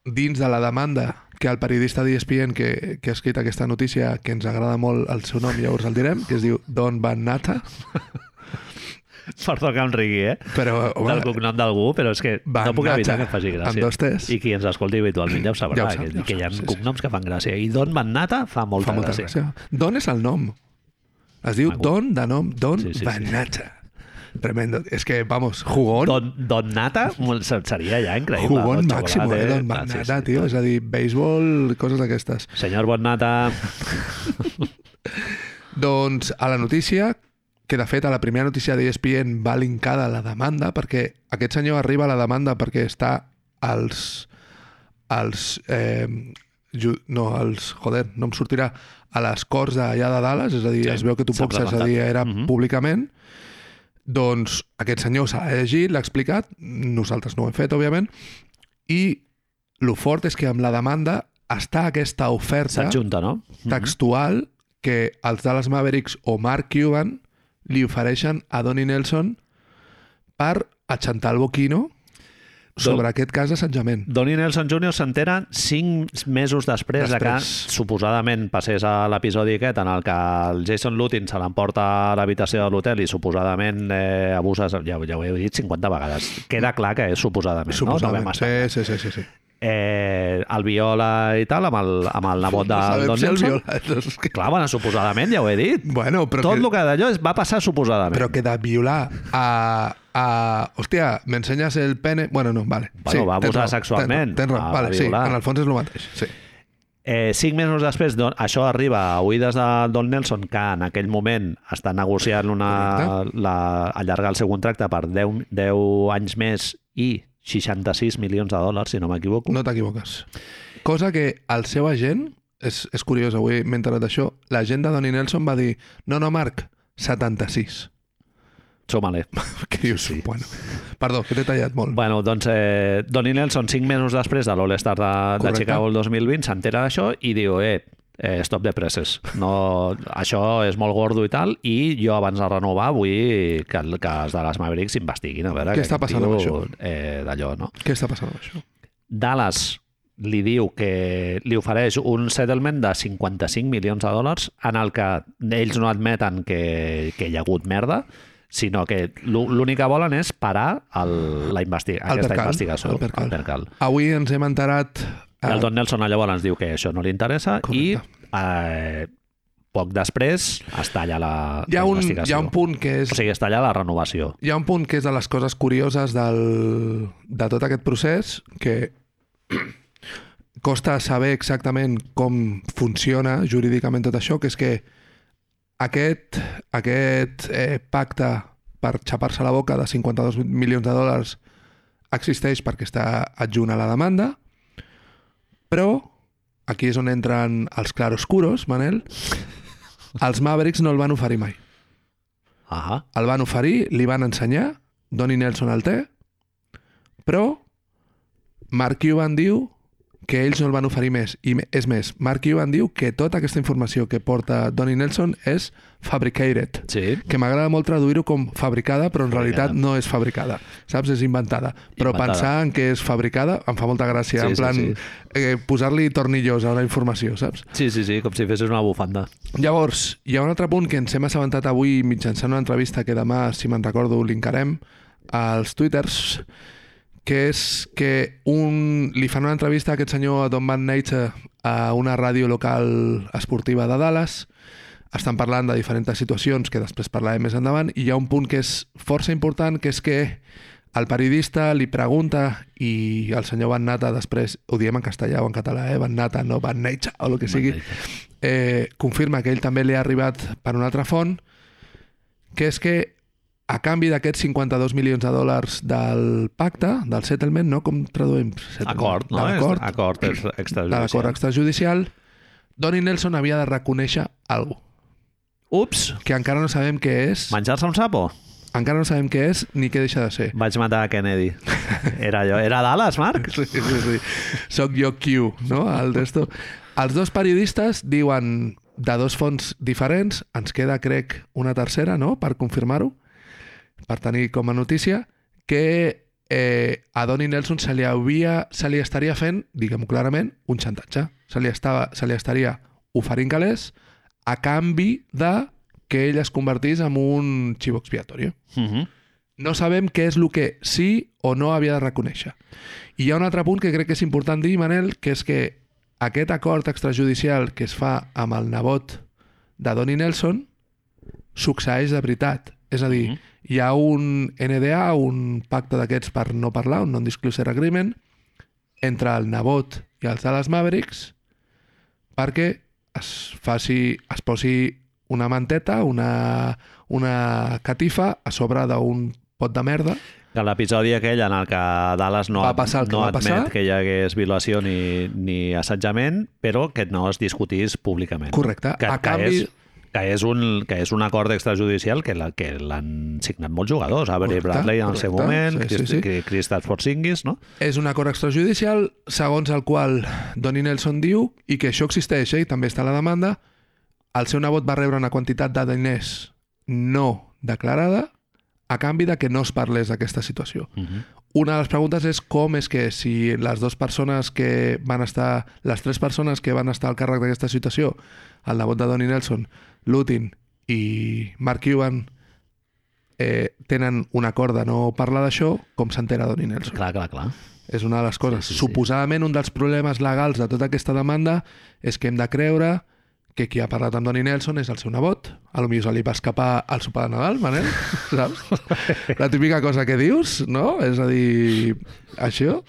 dins de la demanda que el periodista E d'ESPN que, que ha escrit aquesta notícia, que ens agrada molt el seu nom, llavors el direm, que es diu Don Van Nata, Perdó que em rigui, eh? però del home, cognom d'algú, però és que Van no puc evitar que Natcha, em faci gràcia. amb dos Ts. I qui ens escolti habitualment ja ho sabrà, Ja ho sap, que, ja ho que hi ha sap, sí, sí. cognoms que fan gràcia. I Don Bannata fa molta, fa molta gràcia. gràcia. Don és el nom. Es diu Maco. Don de nom, Don Sí, sí, sí. Van Nata. Tremendo. És que, vamos, jugón, Don, don Nata molt- se- seria ja increïble. jugón Don màxim, Xocolata, eh, Don clar, Van sí, Nata, sí. tio. És a dir, béisbol, coses d'aquestes. Senyor Bonnata, Doncs a la notícia, que de fet a la primera notícia d'ESPN va linkada a la demanda, perquè aquest senyor arriba a la demanda perquè està als... als eh, ju- no, als... Joder, no em sortirà. A les Corts d'allà de Dallas, és a dir, Sí, sí, es veu que tu s'ha pocs és a dir, presentat. era Mhm. públicament. Doncs aquest senyor s'ha llegit, l'ha explicat, nosaltres no ho hem fet, òbviament, i lo fort és que amb la demanda està aquesta oferta s'adjunta, no? Mhm. textual que els Dallas Mavericks o Mark Cuban li ofereixen a Donnie Nelson per aixantar el boquino sobre Don- aquest cas de sanjament. Donnie Nelson Jr. s'entera cinc mesos després, després Després. de que suposadament passés a l'episodi aquest en el que el Jason Lutin se l'emporta a l'habitació de l'hotel i suposadament eh, abusa, ja, ja ho he dit 50 vegades. Queda clar que és suposadament, Suposadament. no? no sí. sí, sí, sí, sí, sí. eh, el viola i tal amb el, amb el nebot de sabem Don si el Nelson. viola, és que- Clar, bueno, suposadament, ja ho he dit. Bueno, però Tot que- el que d'allò es va passar suposadament. Pero que da violar a... a hòstia, m'ensenyes el pene... Bueno, no, vale. Bueno, va tens abusar raó, sexualment, Tens raó, va- tens raó. vale, va sí, violar. en el fons és el mateix. Sí. Eh, cinc mesos després, don, això arriba a oïdes de Don Nelson, que en aquell moment està negociant una, la, allargar el seu contracte per 10, 10 anys més i 66 milions de dòlars, si no m'equivoco. No t'equivoques. Cosa que el seu agent... És, és curiós, avui m'he enterat d'això. L'agent de Donnie Nelson va dir no, no, Marc, 76. Suma-li. Què dius? Sí, Bueno, perdó, que t'he tallat molt. Bueno, doncs eh, Donnie Nelson, cinc mesos després de l'All-Star de, de Correcte. Chicago el 2020, s'entera d'això i diu, eh, eh, stop de presses. No, això és molt gordo i tal, i jo abans de renovar vull que, el- que els de les Mavericks investiguin a veure Què està passant amb això? Eh, d'allò, no? Què està passant amb això? Dallas li diu que li ofereix un settlement de 55 milions de dòlars en el que ells no admeten que, que hi ha hagut merda, sinó que l'ú- l'únic que volen és parar el, la investi El aquesta percal, investigació. el percal. El percal. Avui ens hem enterat... eh, I el Don Nelson llavors ens diu que això no li interessa Correcte. i eh, poc després es talla la, hi, ha la un, investigació. hi ha un punt que és O sigui, es talla la renovació. hi ha un punt que és de les coses curioses del, de tot aquest procés que costa saber exactament com funciona jurídicament tot això, que és que aquest, aquest eh, pacte per xapar-se la boca de 52 milions de dòlars existeix perquè està adjunt a la demanda, però aquí és on entren els claroscuros, Manel, els Mavericks no el van oferir mai. Ahà. El van oferir, li van ensenyar, Donnie Nelson el té, però Mark Cuban diu que ells no el van oferir més. I me- és més, Mark Cuban diu que tota aquesta informació que porta Donnie Nelson és fabricated. Sí. Que m'agrada molt traduir-ho com fabricada, però en Fabricada. realitat no és fabricada. Saps? És inventada. Però Inventada. pensar en que és fabricada em fa molta gràcia. Sí, en sí, plan, sí. eh, posar-li tornillos a la informació, saps? sí, sí, sí, com si fessis una bufanda. Llavors, hi ha un altre punt que ens hem assabentat avui mitjançant una entrevista que demà, si me'n recordo, linkarem als twitters, que és que un, li fan una entrevista a aquest senyor a Don Van Nature a una ràdio local esportiva de Dallas. Estan parlant de diferents situacions que després parlarem més endavant i hi ha un punt que és força important, que és que el periodista li pregunta i el senyor Van Nata després, ho diem en castellà o en català, eh? Van Nata, no Van Nature o el que sigui, Nature. eh, confirma que ell també li ha arribat per una altra font, que és que a canvi d'aquests 52 milions de dòlars del pacte, del settlement, no? Com traduïm? Settlement? Acord, no? De Acord. Acord l'acord. és De l'acord extrajudicial. extrajudicial. Donnie Nelson havia de reconèixer alguna cosa Ups, que encara no sabem què és, menjar-se un sapo? encara no sabem què és ni què deixa de ser. Vaig matar a Kennedy. Era allò. Era Dallas, Marc? Sí, sí, sí. Soc jo Q, no? El d'esto. Els dos periodistes diuen de dos fonts diferents, ens queda, crec, una tercera, no?, per confirmar-ho, per tenir com a notícia, que eh, a Donnie Nelson se li, havia, se li estaria fent, diguem-ho clarament, un xantatge. Se li, estava, se li estaria oferint calés a canvi de que ell es convertís en un xivo expiatori. Uh -huh. No sabem què és el que sí o no havia de reconèixer. I hi ha un altre punt que crec que és important dir, Manel, que és que aquest acord extrajudicial que es fa amb el nebot de Donnie Nelson succeeix de veritat. És a dir, Mm-hmm. hi ha un NDA, un pacte d'aquests per no parlar, un non-disclosure agreement, entre el nebot i els Dallas Mavericks perquè es faci, es posi una manteta, una, una catifa a sobre d'un pot de merda. Que l'episodi aquell en el que Dallas no, Va passar el que no va admet passar. que hi hagués violació ni, ni assetjament, però que no es discutís públicament. Correcte. Que, a que, canvi, és, que, és un, que és un acord extrajudicial que la- que l'han signat molts jugadors. Avery Correcte, Bradley en el seu correcte. moment, Sí, sí, Christ- sí. Cri- Kristaps Porzingis, no? és un acord extrajudicial segons el qual Donnie Nelson diu i que això existeix eh, i també està a la demanda El seu nebot va rebre una quantitat de diners no declarada a canvi de que no es parlés d'aquesta situació. Mm -hmm. Una de les preguntes és com és que si les dues persones que van estar, les tres persones que van estar al càrrec d'aquesta situació, el nebot de Donnie Nelson, Lutin i Mark Cuban, eh, tenen un acord de no parlar d'això, com s'entera Donnie Nelson? Clar, clar, clar. És una de les coses. Sí, sí, Sí, sí. sí, Suposadament un dels problemes legals de tota aquesta demanda és que hem de creure que qui ha parlat amb Donnie Nelson és el seu nebot. A lo millor se li va escapar al sopar de Nadal, Manel, saps? La típica cosa que dius, no? És a dir, això.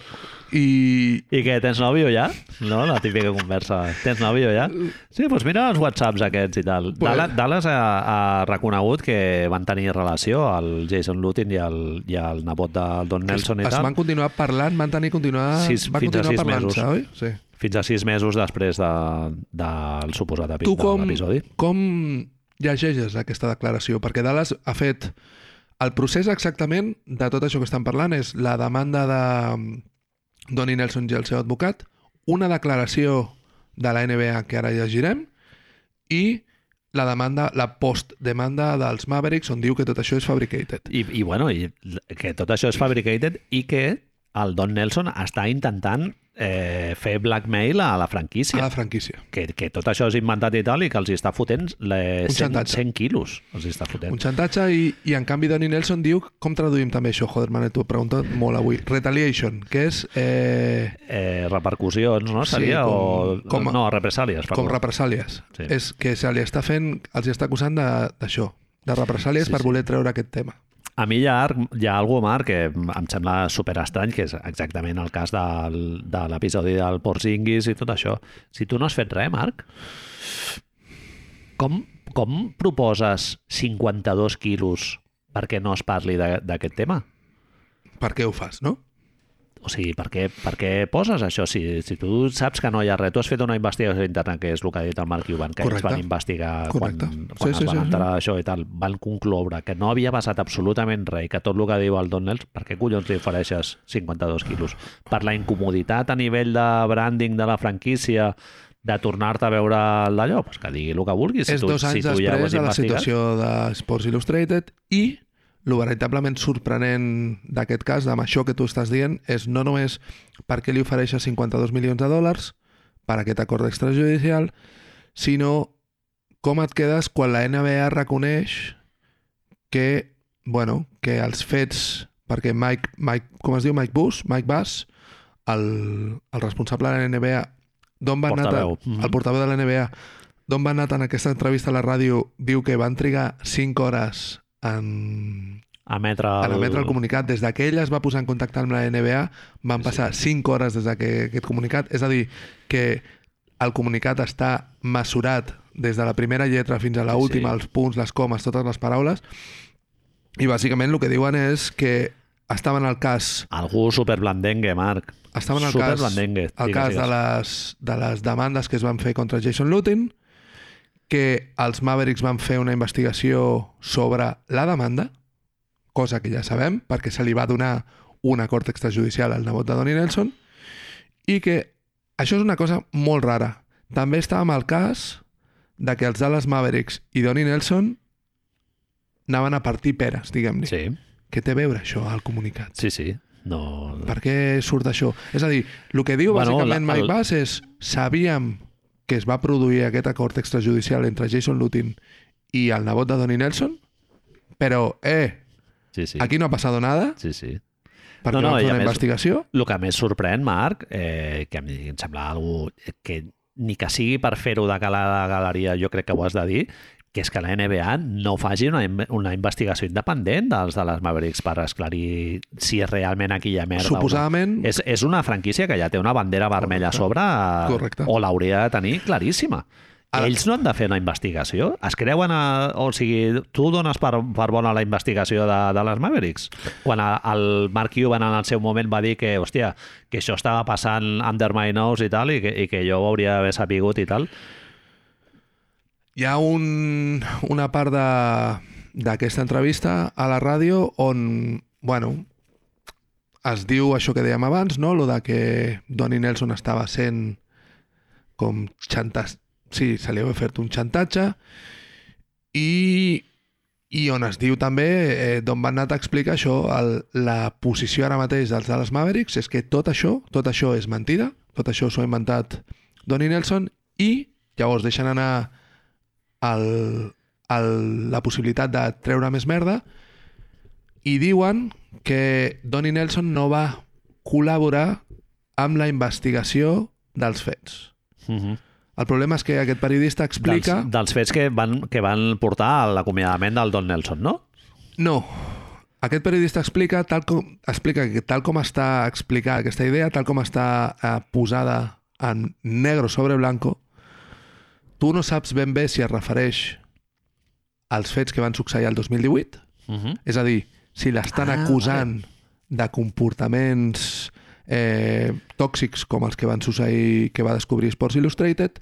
I... I què, tens nòvio ja? No, la típica conversa. Tens nòvio ja? Sí, doncs mira els whatsapps aquests i tal. Mm. Pues- Dallas, Dallas ha, ha reconegut que van tenir relació el Jason Lutin i el, i el nebot del Don Nelson i es tal. van continuar parlant, van tenir continuar... Sis- van fins a continuar sis parlant-se, mesos. oi? Sí. Fins a sis mesos després de, del suposat epi Tu de com, l'episodi. com llegeixes aquesta declaració? Perquè Dallas ha fet... El procés exactament de tot això que estan parlant és la demanda de mm, Donnie Nelson i el seu advocat, una declaració de la NBA que ara llegirem i la demanda, la postdemanda dels Mavericks on diu que tot això és fabricated. I, i bueno, i que tot això és fabricated i que el Don Nelson està intentant eh, fer blackmail a la franquícia. A la franquícia. que, que tot això és inventat i tal i que els hi està fotent le- Un 100, xantatge. 100 quilos els hi està fotent. Un xantatge i, i en canvi Donnie Nelson diu com traduïm també això, joder, Manet, t'ho he preguntat molt avui. Retaliation, que és... Eh, Eh, repercussions, no? Sí, Seria com- o... com a- no, represàlies. com perdó. represàlies. Sí. Sí. És que se li està fent, els hi està acusant de- d'això, de, de represàlies Sí, sí, per sí. voler treure aquest tema. A mi hi ha, hi ha alguna Marc, que em sembla super estrany, que és exactament el cas del, de l'episodi del Porzingis i tot això. Si tu no has fet res, Marc, com, com proposes 52 quilos perquè no es parli de- d'aquest tema? Per què ho fas, no? O sigui, per què, per què poses això? Si, si tu saps que no hi ha res, tu has fet una investigació interna, que és el que ha dit el Marc Cuban, que Correcte. ells van investigar Correcte. quan, Sí, quan sí, es van sí, enterar d'això i tal, van concloure que no havia passat absolutament res i que tot el que diu el Donalds, per què collons li ofereixes 52 quilos? Per la incomoditat a nivell de branding de la franquícia, de tornar-te a veure d'allò, pues que digui el que vulguis. és dos anys ho has després de la investigat. situació de Sports Illustrated i el veritablement sorprenent d'aquest cas, amb això que tu estàs dient, és no només per què li ofereixes 52 milions de dòlars per aquest acord extrajudicial, sinó com et quedes quan la NBA reconeix que, bueno, que els fets, perquè Mike, Mike com es diu, Mike Buss, Mike Bass, el, el responsable de la NBA, d'on va anar... Portaveu. El portaveu de la NBA, Don Van Nat en aquesta entrevista a la ràdio diu que van trigar 5 hores en, Emetre en emetre el comunicat. Des de que ell es va posar en contacte amb la NBA, van passar 5 hores des de que aquest comunicat... És a dir, que el comunicat està mesurat des de la primera lletra fins a la Sí, última, sí. els punts, les comes, totes les paraules, i bàsicament el que diuen és que estaven al cas Algú superblandengue, Marc. estaven al cas, Superblandengue. al digues, cas digues. de, les, de les demandes que es van fer contra Jason Lutin, que els Mavericks van fer una investigació sobre la demanda, cosa que ja sabem, perquè se li va donar un acord extrajudicial al nebot de Donnie Nelson, i que això és una cosa molt rara. També estàvem al cas de que els Dallas Mavericks i Donnie Nelson anaven a partir peres, diguem-ne. Sí, Què té a veure això al comunicat? sí, sí. No, Per què surt això? És a dir, el que diu Bueno, bueno, bàsicament la- Mike el- Bass és sabíem que es va produir aquest acord extrajudicial entre Jason Lutin i el nebot de Donnie Nelson, però, eh, Sí, sí. aquí no ha passat nada Sí, sí. perquè No, no, no, no, i a fer una més- investigació. El que més sorprèn, Marc, eh, que a mi em sembla algú que ni que sigui per fer-ho de cara a la galeria, jo crec que ho has de dir, que és que la NBA no faci una, in- una investigació independent dels de les Mavericks per esclarir si és realment aquí hi ha merda o Suposadament, no. És, és una franquícia que ja té una bandera vermella a sobre eh, Correcte. o l'hauria de tenir claríssima. Ara- Ells no han de fer una investigació? Es creuen a... O sigui, tu dones per, per bona la investigació de, de les Mavericks? Quan a, el Mark Cuban en el seu moment va dir que, hòstia, que això estava passant under my nose i tal, i que, i que jo ho hauria d'haver sapigut i tal. hi ha un, una part de- d'aquesta entrevista a la ràdio on, bueno, es diu això que dèiem abans, no? Lo de que Donnie Nelson estava sent com xantas, sí, se li va fer un xantatge i, i on es diu també, eh, d'on van anar a explicar això, el, la posició ara mateix dels Dallas Mavericks és que tot això, tot això és mentida, tot això s'ho ha inventat Donnie Nelson i llavors deixen anar el, el, la possibilitat de treure més merda i diuen que Donnie Nelson no va col·laborar amb la investigació dels fets. Mm -hmm. El problema és que aquest periodista dels, Mhm. explica... dels fets que van, que van portar a l'acomiadament del Don Nelson, no? No. Aquest periodista explica tal com, explica que tal com està explicada aquesta idea, tal com està eh, posada en negro sobre blanco, tu no saps ben bé si es refereix als fets que van succeir el 2018, Uh -huh. és a dir, si l'estan Ah, ah, acusant de comportaments eh, tòxics com els que van succeir que va descobrir Sports Illustrated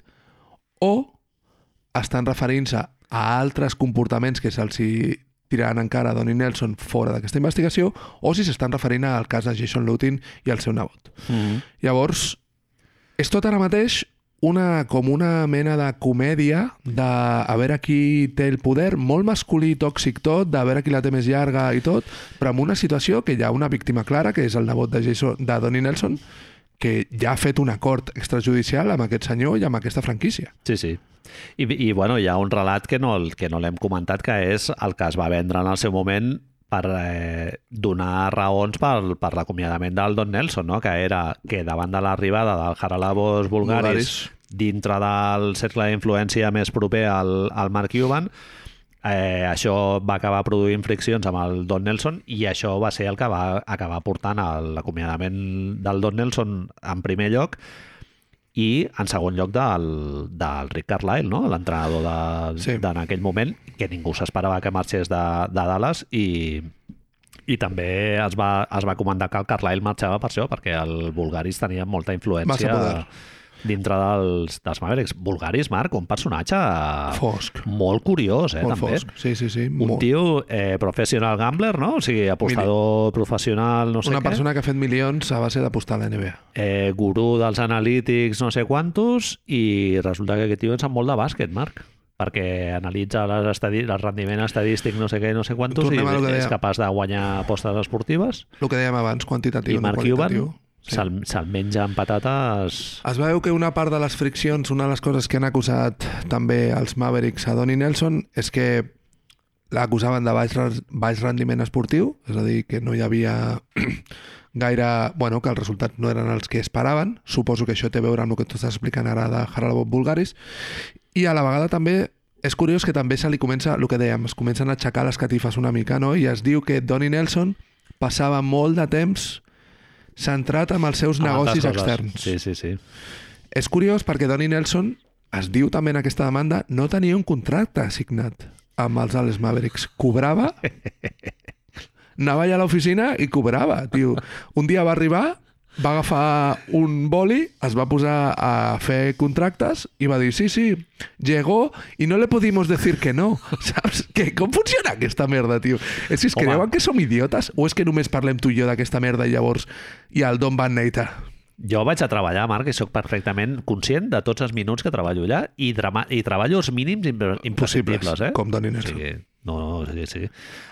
o estan referint-se a altres comportaments que se'ls hi tiraran encara a Donnie Nelson fora d'aquesta investigació o si s'estan referint al cas de Jason Lutin i el seu nebot. Uh -huh. Llavors, és tot ara mateix una, com una mena de comèdia de a veure qui té el poder, molt masculí i tòxic tot, de veure qui la té més llarga i tot, però amb una situació que hi ha una víctima clara, que és el nebot de, Jason, de Donnie Nelson, que ja ha fet un acord extrajudicial amb aquest senyor i amb aquesta franquícia. Sí, sí. I, I, bueno, hi ha un relat que no, el- que no l'hem comentat, que és el que es va vendre en el seu moment per eh, donar raons per, per l'acomiadament del Don Nelson, no? que era que davant de l'arribada del Haralabos Bulgaris, Bulgaris. dintre del cercle d'influència més proper al, al Mark Cuban, eh, això va acabar produint friccions amb el Don Nelson i això va ser el que va acabar portant a l'acomiadament del Don Nelson en primer lloc i en segon lloc del, del Rick Carlisle, no? l'entrenador de, Sí. sí. en aquell moment, que ningú s'esperava que marxés de, de Dallas i, i també es va, es va comentar que el Carlisle marxava per això, perquè el Bulgaris tenia molta Massa poder. influència dintre dels, dels Mavericks. Bulgaris, Marc, un personatge Fosc. molt curiós, eh, molt també. fosc. Sí, sí, sí. Un molt. tio eh, professional gambler, no? O sigui, apostador professional, no sé Una què. persona que ha fet milions a base d'apostar a la NBA. eh, gurú dels analítics no sé quantos i resulta que aquest tio en sap molt de bàsquet, Marc perquè analitza les estadi el rendiment estadístic no sé què, no sé quantos i Tornem a lo que és deia. capaç de guanyar apostes esportives El que dèiem abans, quantitatiu, i Mark no Cuban qualitatiu. Sí. se'l se menja amb patates Es veu que una part de les friccions, una de les coses que han acusat també els Mavericks a Donnie Nelson és que l'acusaven de baix, res- baix rendiment esportiu, és a dir, que no hi havia gaire... Bueno, que els resultats no eren els que esperaven. Suposo que això té a veure amb el que tu estàs explicant ara de Harald Bulgaris. I a la vegada també és curiós que també se li comença, el que dèiem, es comencen a aixecar les catifes una mica, no? I es diu que Donnie Nelson passava molt de temps centrat amb els seus amb negocis altres coses. externs. sí, sí, sí. És curiós perquè Donnie Nelson, es diu també en aquesta demanda, no tenia un contracte assignat amb els Dallas Mavericks. Cobrava, anava allà a l'oficina i cobrava, tio. Un dia va arribar, va agafar un boli, es va posar a fer contractes i va dir, sí, sí, llegó i no le pudimos decir que no. Saps? Que, com funciona aquesta merda, tio? És que es Home. creuen que som idiotes o és que només parlem tu i jo d'aquesta merda i llavors i el Don Van Neita? Jo vaig a treballar, Marc, i sóc perfectament conscient de tots els minuts que treballo allà i, drama i treballo els mínims imp- imprescindibles. Eh? com Donnie Nelson. O sigui, no, no, sí, sí.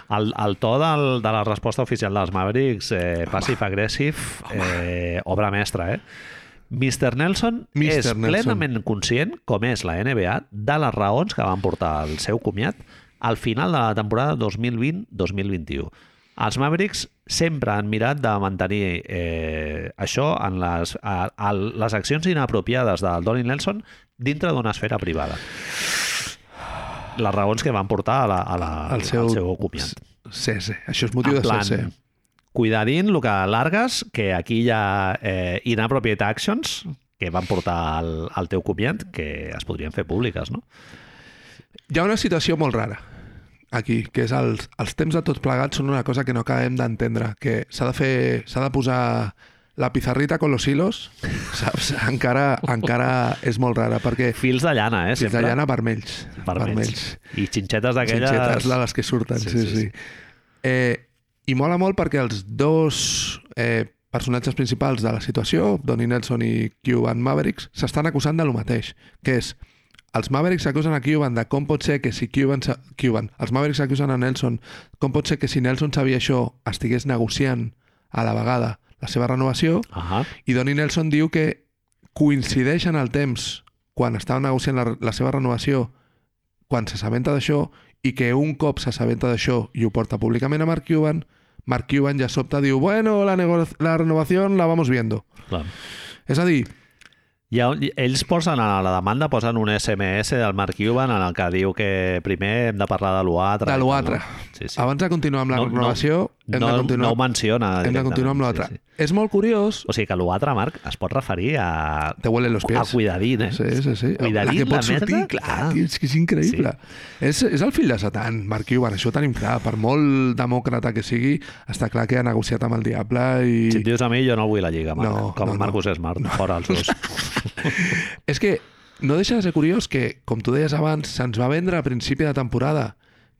El, el to del, de la resposta oficial dels Mavericks, eh, passive-agressive, eh, obra mestra, eh? Mr. Nelson Mr. és Nelson. plenament conscient, com és la NBA, de les raons que van portar el seu comiat al final de la temporada 2020-2021. Els Mavericks sempre han mirat de mantenir eh, això en les, a, a les accions inapropiades del Donnie Nelson dintre d'una esfera privada. Les raons que van portar a la, a la, Al al seu, al seu comiat. CC. Això és motiu En de CC. Cuidadín, el que largues, que aquí hi ha eh, inappropriate actions que van portar al, al teu comiat que es podrien fer públiques, no? Hi ha una situació molt rara aquí, que és els, els temps de tot plegat són una cosa que no acabem d'entendre, que s'ha de fer, s'ha de posar la pizarrita con los hilos, saps? Encara, encara és molt rara, perquè Fils de llana, eh? fins sempre. de llana vermells. Vermells. vermells. I xinxetes d'aquelles... Xinxetes de les que surten, sí, sí. sí. Eh, I mola molt perquè els dos eh, personatges principals de la situació, Donnie Nelson i Cuban Mavericks, s'estan acusant de lo mateix, que és els Mavericks acusen a Cuban de com pot ser que si Cuban... sa- Cuban els Mavericks acusen a Nelson com pot ser que si Nelson sabia això estigués negociant a la vegada la seva renovació Ahà. i Donnie Nelson diu que coincideix en el temps quan estava negociant la, la seva renovació quan s'assabenta d'això i que un cop s'assabenta d'això i ho porta públicament a Mark Cuban Mark Cuban ja sobta diu bueno, la, nego- la renovació la vamos viendo Clar. és a dir, Hi ha, ells posen a la demanda posen un SMS del Mark Cuban en el que diu que primer hem de parlar de l'altre. De l'altre. Sí, sí. abans de continuar amb la No, no, no, renovació hem no, de continuar, no ho menciona. hem de directament. continuar amb l'altre Sí, sí. és molt curiós O sigui que l'altre, Marc, es pot referir a... te huelen los pies A cuidadín, eh? Sí, sí, sí. Cuidadín, la que pot la sortir, merda. clar, Ah. tio, és que és increïble. Sí. És, és el fill de Satan, Mark Cuban, això ho tenim clar. Per molt demòcrata que sigui, està clar que ha negociat amb el diable i... Si et dius a mi, jo no vull la lliga, Marc. No, Com no, no. Marcus Smart, fora els dos. És que no deixa de ser curiós que, com tu deies abans, se'ns va vendre a principi de temporada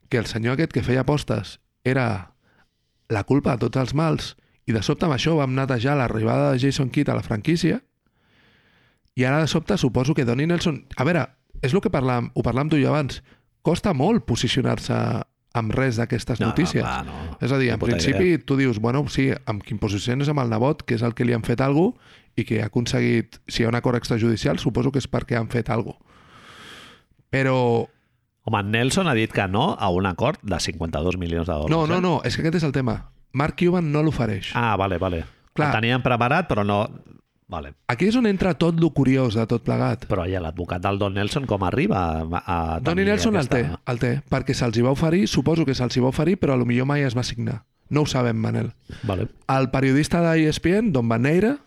que el senyor aquest que feia apostes era la culpa de tots els mals i de sobte amb això vam netejar l'arribada de Jason Kidd a la franquícia i ara de sobte suposo que Donnie Nelson... A veure, és el que parlàvem, ho parlàvem tu i jo abans. Costa molt posicionar-se amb res d'aquestes No, no, notícies. clar, no. És a dir, Ni en puta principi tu dius, bueno, sí, amb qui em posiciones amb el nebot, que és el que li han fet algú i que ha aconseguit, si hi ha un acord extrajudicial, suposo que és perquè han fet algú. Però... Home, Nelson ha dit que no a un acord de 52 milions de dòlars. No, eh? no, no, és que aquest és el tema. Mark Cuban no l'ofereix. Ah, vale, vale. Clar. Clar. El tenien preparat, però no... Vale. Aquí és on entra tot lo curiós de tot plegat. Però ja l'advocat del Don Nelson com arriba a... a Donnie tenir Nelson el té, aquesta- el té, perquè se'ls hi va oferir, suposo que se'ls hi va oferir, però a lo millor mai es va signar. No ho sabem, Manel. Vale. El periodista d'ESPN, Don Van Neira,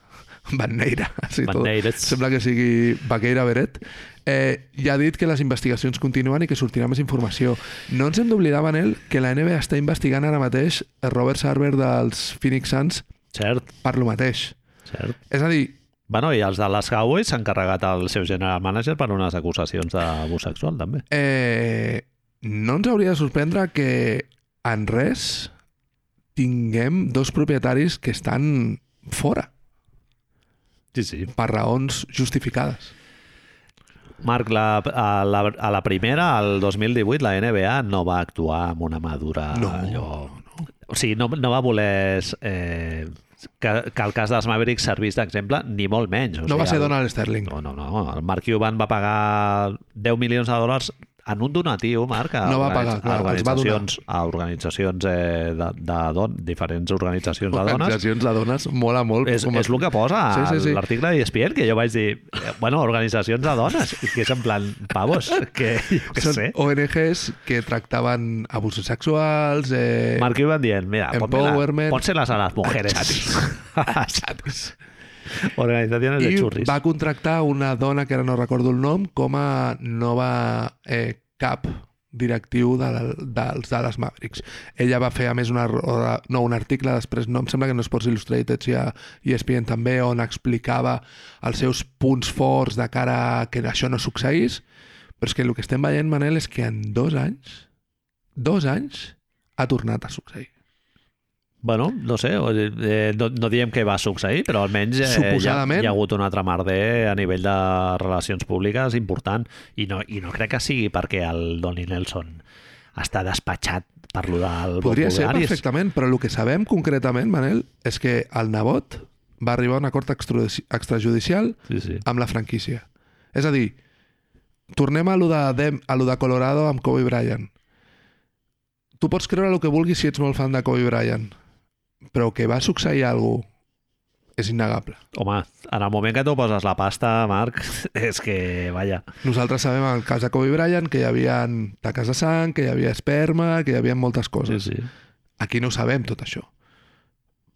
Van Neira, sí, Van tot. Neirets. sembla que sigui Vaqueira Beret, eh, ja ha dit que les investigacions continuen i que sortirà més informació. No ens hem d'oblidar, Manel, que la NBA està investigant ara mateix Robert Sarver dels Phoenix Suns Cert, per lo mateix. cert. És a dir, Bueno, i els de les Cowboys s'han carregat el seu general manager per unes acusacions d'abús sexual, també. eh, no ens hauria de sorprendre que en res tinguem dos propietaris que estan fora Sí, sí. per raons justificades. Marc, la, a, la, a la primera, al 2018, la NBA no va actuar amb una madura... No, no. O sigui, no, no va voler eh, que, que el cas dels Mavericks servís d'exemple, ni molt menys. O No va sigui, ser el- Donald Sterling. No, no, no. El Mark Cuban va pagar 10 milions de dòlars en un donatiu, Marc, a, No va organitz- pagar, a clar, els va donar. organitzacions, a organitzacions eh, de, de don, diferents organitzacions de dones. Organitzacions de dones mola molt. És, és el que posa Sí, sí, sí, sí. l'article E d'ESPN, que jo vaig dir, eh, bueno, organitzacions de dones, i que és en plan, pavos, que jo què Són Oh, sé. ONGs que tractaven abusos sexuals... Eh... Mark Cuban dient, mira, Empowerment. pónselas a las mujeres. Saps? Organitzaciones de I churris. va contractar una dona, que ara no recordo el nom, com a nova eh, cap directiu de, dels Dallas Mavericks. Ella va fer, a més, una, roda- no, un article després, no, em sembla que no Sports Illustrated i a E ESPN també, on explicava els seus punts forts de cara a que això no succeís. Però és que el que estem veient, Manel, és que en dos anys, dos anys, ha tornat a succeir. Bueno, no sé, o- eh, no, no diem que va succeir, però almenys eh, Suposadament. hi, ha, hi ha hagut un altre merder a nivell de relacions públiques important i no, i no crec que sigui perquè el Donnie Nelson està despatxat per lo del Podria ser vocabularis. perfectament, però el que sabem concretament, Manel, és que el nebot va arribar a un acord extra- extrajudicial Sí, sí. amb la franquícia. És a dir, tornem a lo de, Dem a lo de Colorado amb Kobe Bryant. Tu pots creure el que vulguis si ets molt fan de Kobe Bryant, però que va succeir algú és innegable. Home, en el moment que tu poses la pasta, Marc, és que, vaja... Nosaltres sabem en el cas de Kobe Bryant que hi havia taques de sang, que hi havia esperma, que hi havia moltes coses. sí. Aquí no ho sabem tot això.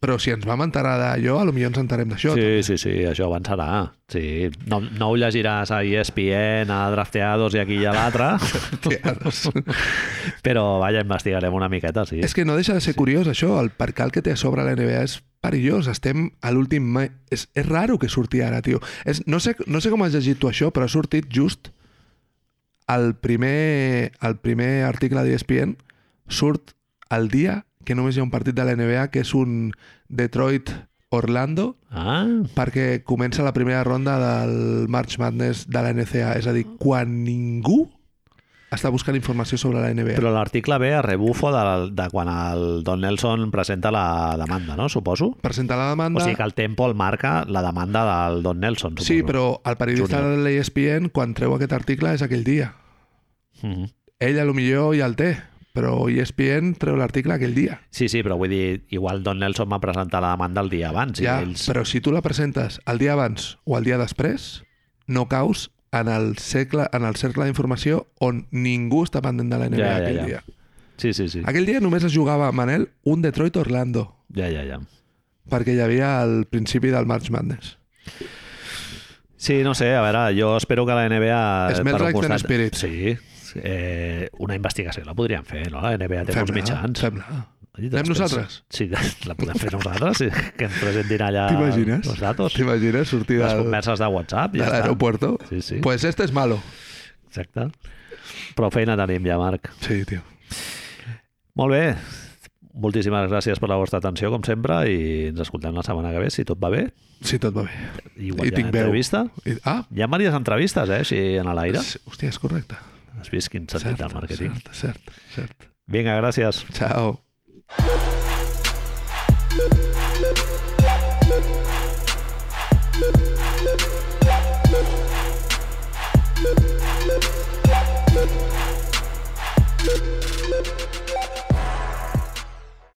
Però si ens vam enterar d'allò, a lo millor ens enterem d'això. Sí, sí, sí, això avançarà. Sí. No, no ho llegiràs a E ESPN, a Drafteados i aquí i a l'altre, Hòsties. però vaja, investigarem una miqueta, sí. és que no deixa de ser curiós això, el percal que té a sobre la NBA és perillós, estem a l'últim mai... És, és raro que surti ara, tio. És, no, sé, no sé com has llegit tu això, però ha sortit just el primer, el primer article E d'ESPN surt el dia que només hi ha un partit de la NBA que és un Detroit Orlando Ah, perquè comença la primera ronda del March Madness de la NCA, és a dir, quan ningú està buscant informació sobre la NBA. però l'article ve a rebufo de, de quan el Don Nelson presenta la demanda, no? Suposo. Presenta la demanda... O sigui que el tempo el marca la demanda del Don Nelson, suposo. Sí, però el periodista Júnior. de E l'ESPN, quan treu aquest article, és aquell dia. Mhm. Ell, a lo millor, ja el té, però E ESPN treu l'article aquell dia. Sí, sí, però vull dir, igual Don Nelson va presentar la demanda el dia abans. Sí, ja, i ells... Però si tu la presentes el dia abans o el dia després, no caus en el, cercle, en el cercle d'informació on ningú està pendent de la NBA Ja, ja, ja, aquell ja. dia. Sí, sí, sí. Aquell dia només es jugava, Manel, un Detroit-Orlando, Ja, ja, ja. perquè hi havia el principi del March Madness. Sí, no sé, a veure, jo espero que la NBA... Smells per un like Teen Spirit. Sí, eh, una investigació la podríem fer, no? La NBA té molts Fem-la, mitjans. Ah, Fem-la. I Anem nosaltres? Sí, la podem fer nosaltres, sí, que ens presentin allà T'imagines? els datos, T'imagines sortir les del, converses de WhatsApp, de ja està. l'aeropuerto? Sí, sí. Pues este es malo. Exacte. Però feina tenim ja, Marc. Sí, tio. Molt bé, moltíssimes gràcies per la vostra atenció, com sempre, i ens escoltem la setmana que ve, si tot va bé. Sí, tot va bé. Igual I hi ha tinc veu. entrevista. I, ah, Hi ha diverses entrevistes, eh, així en l'aire. sí, hòstia, és correcte. Has vist quin sentit del màrqueting. cert, cert, cert. Vinga, gràcies. Ciao.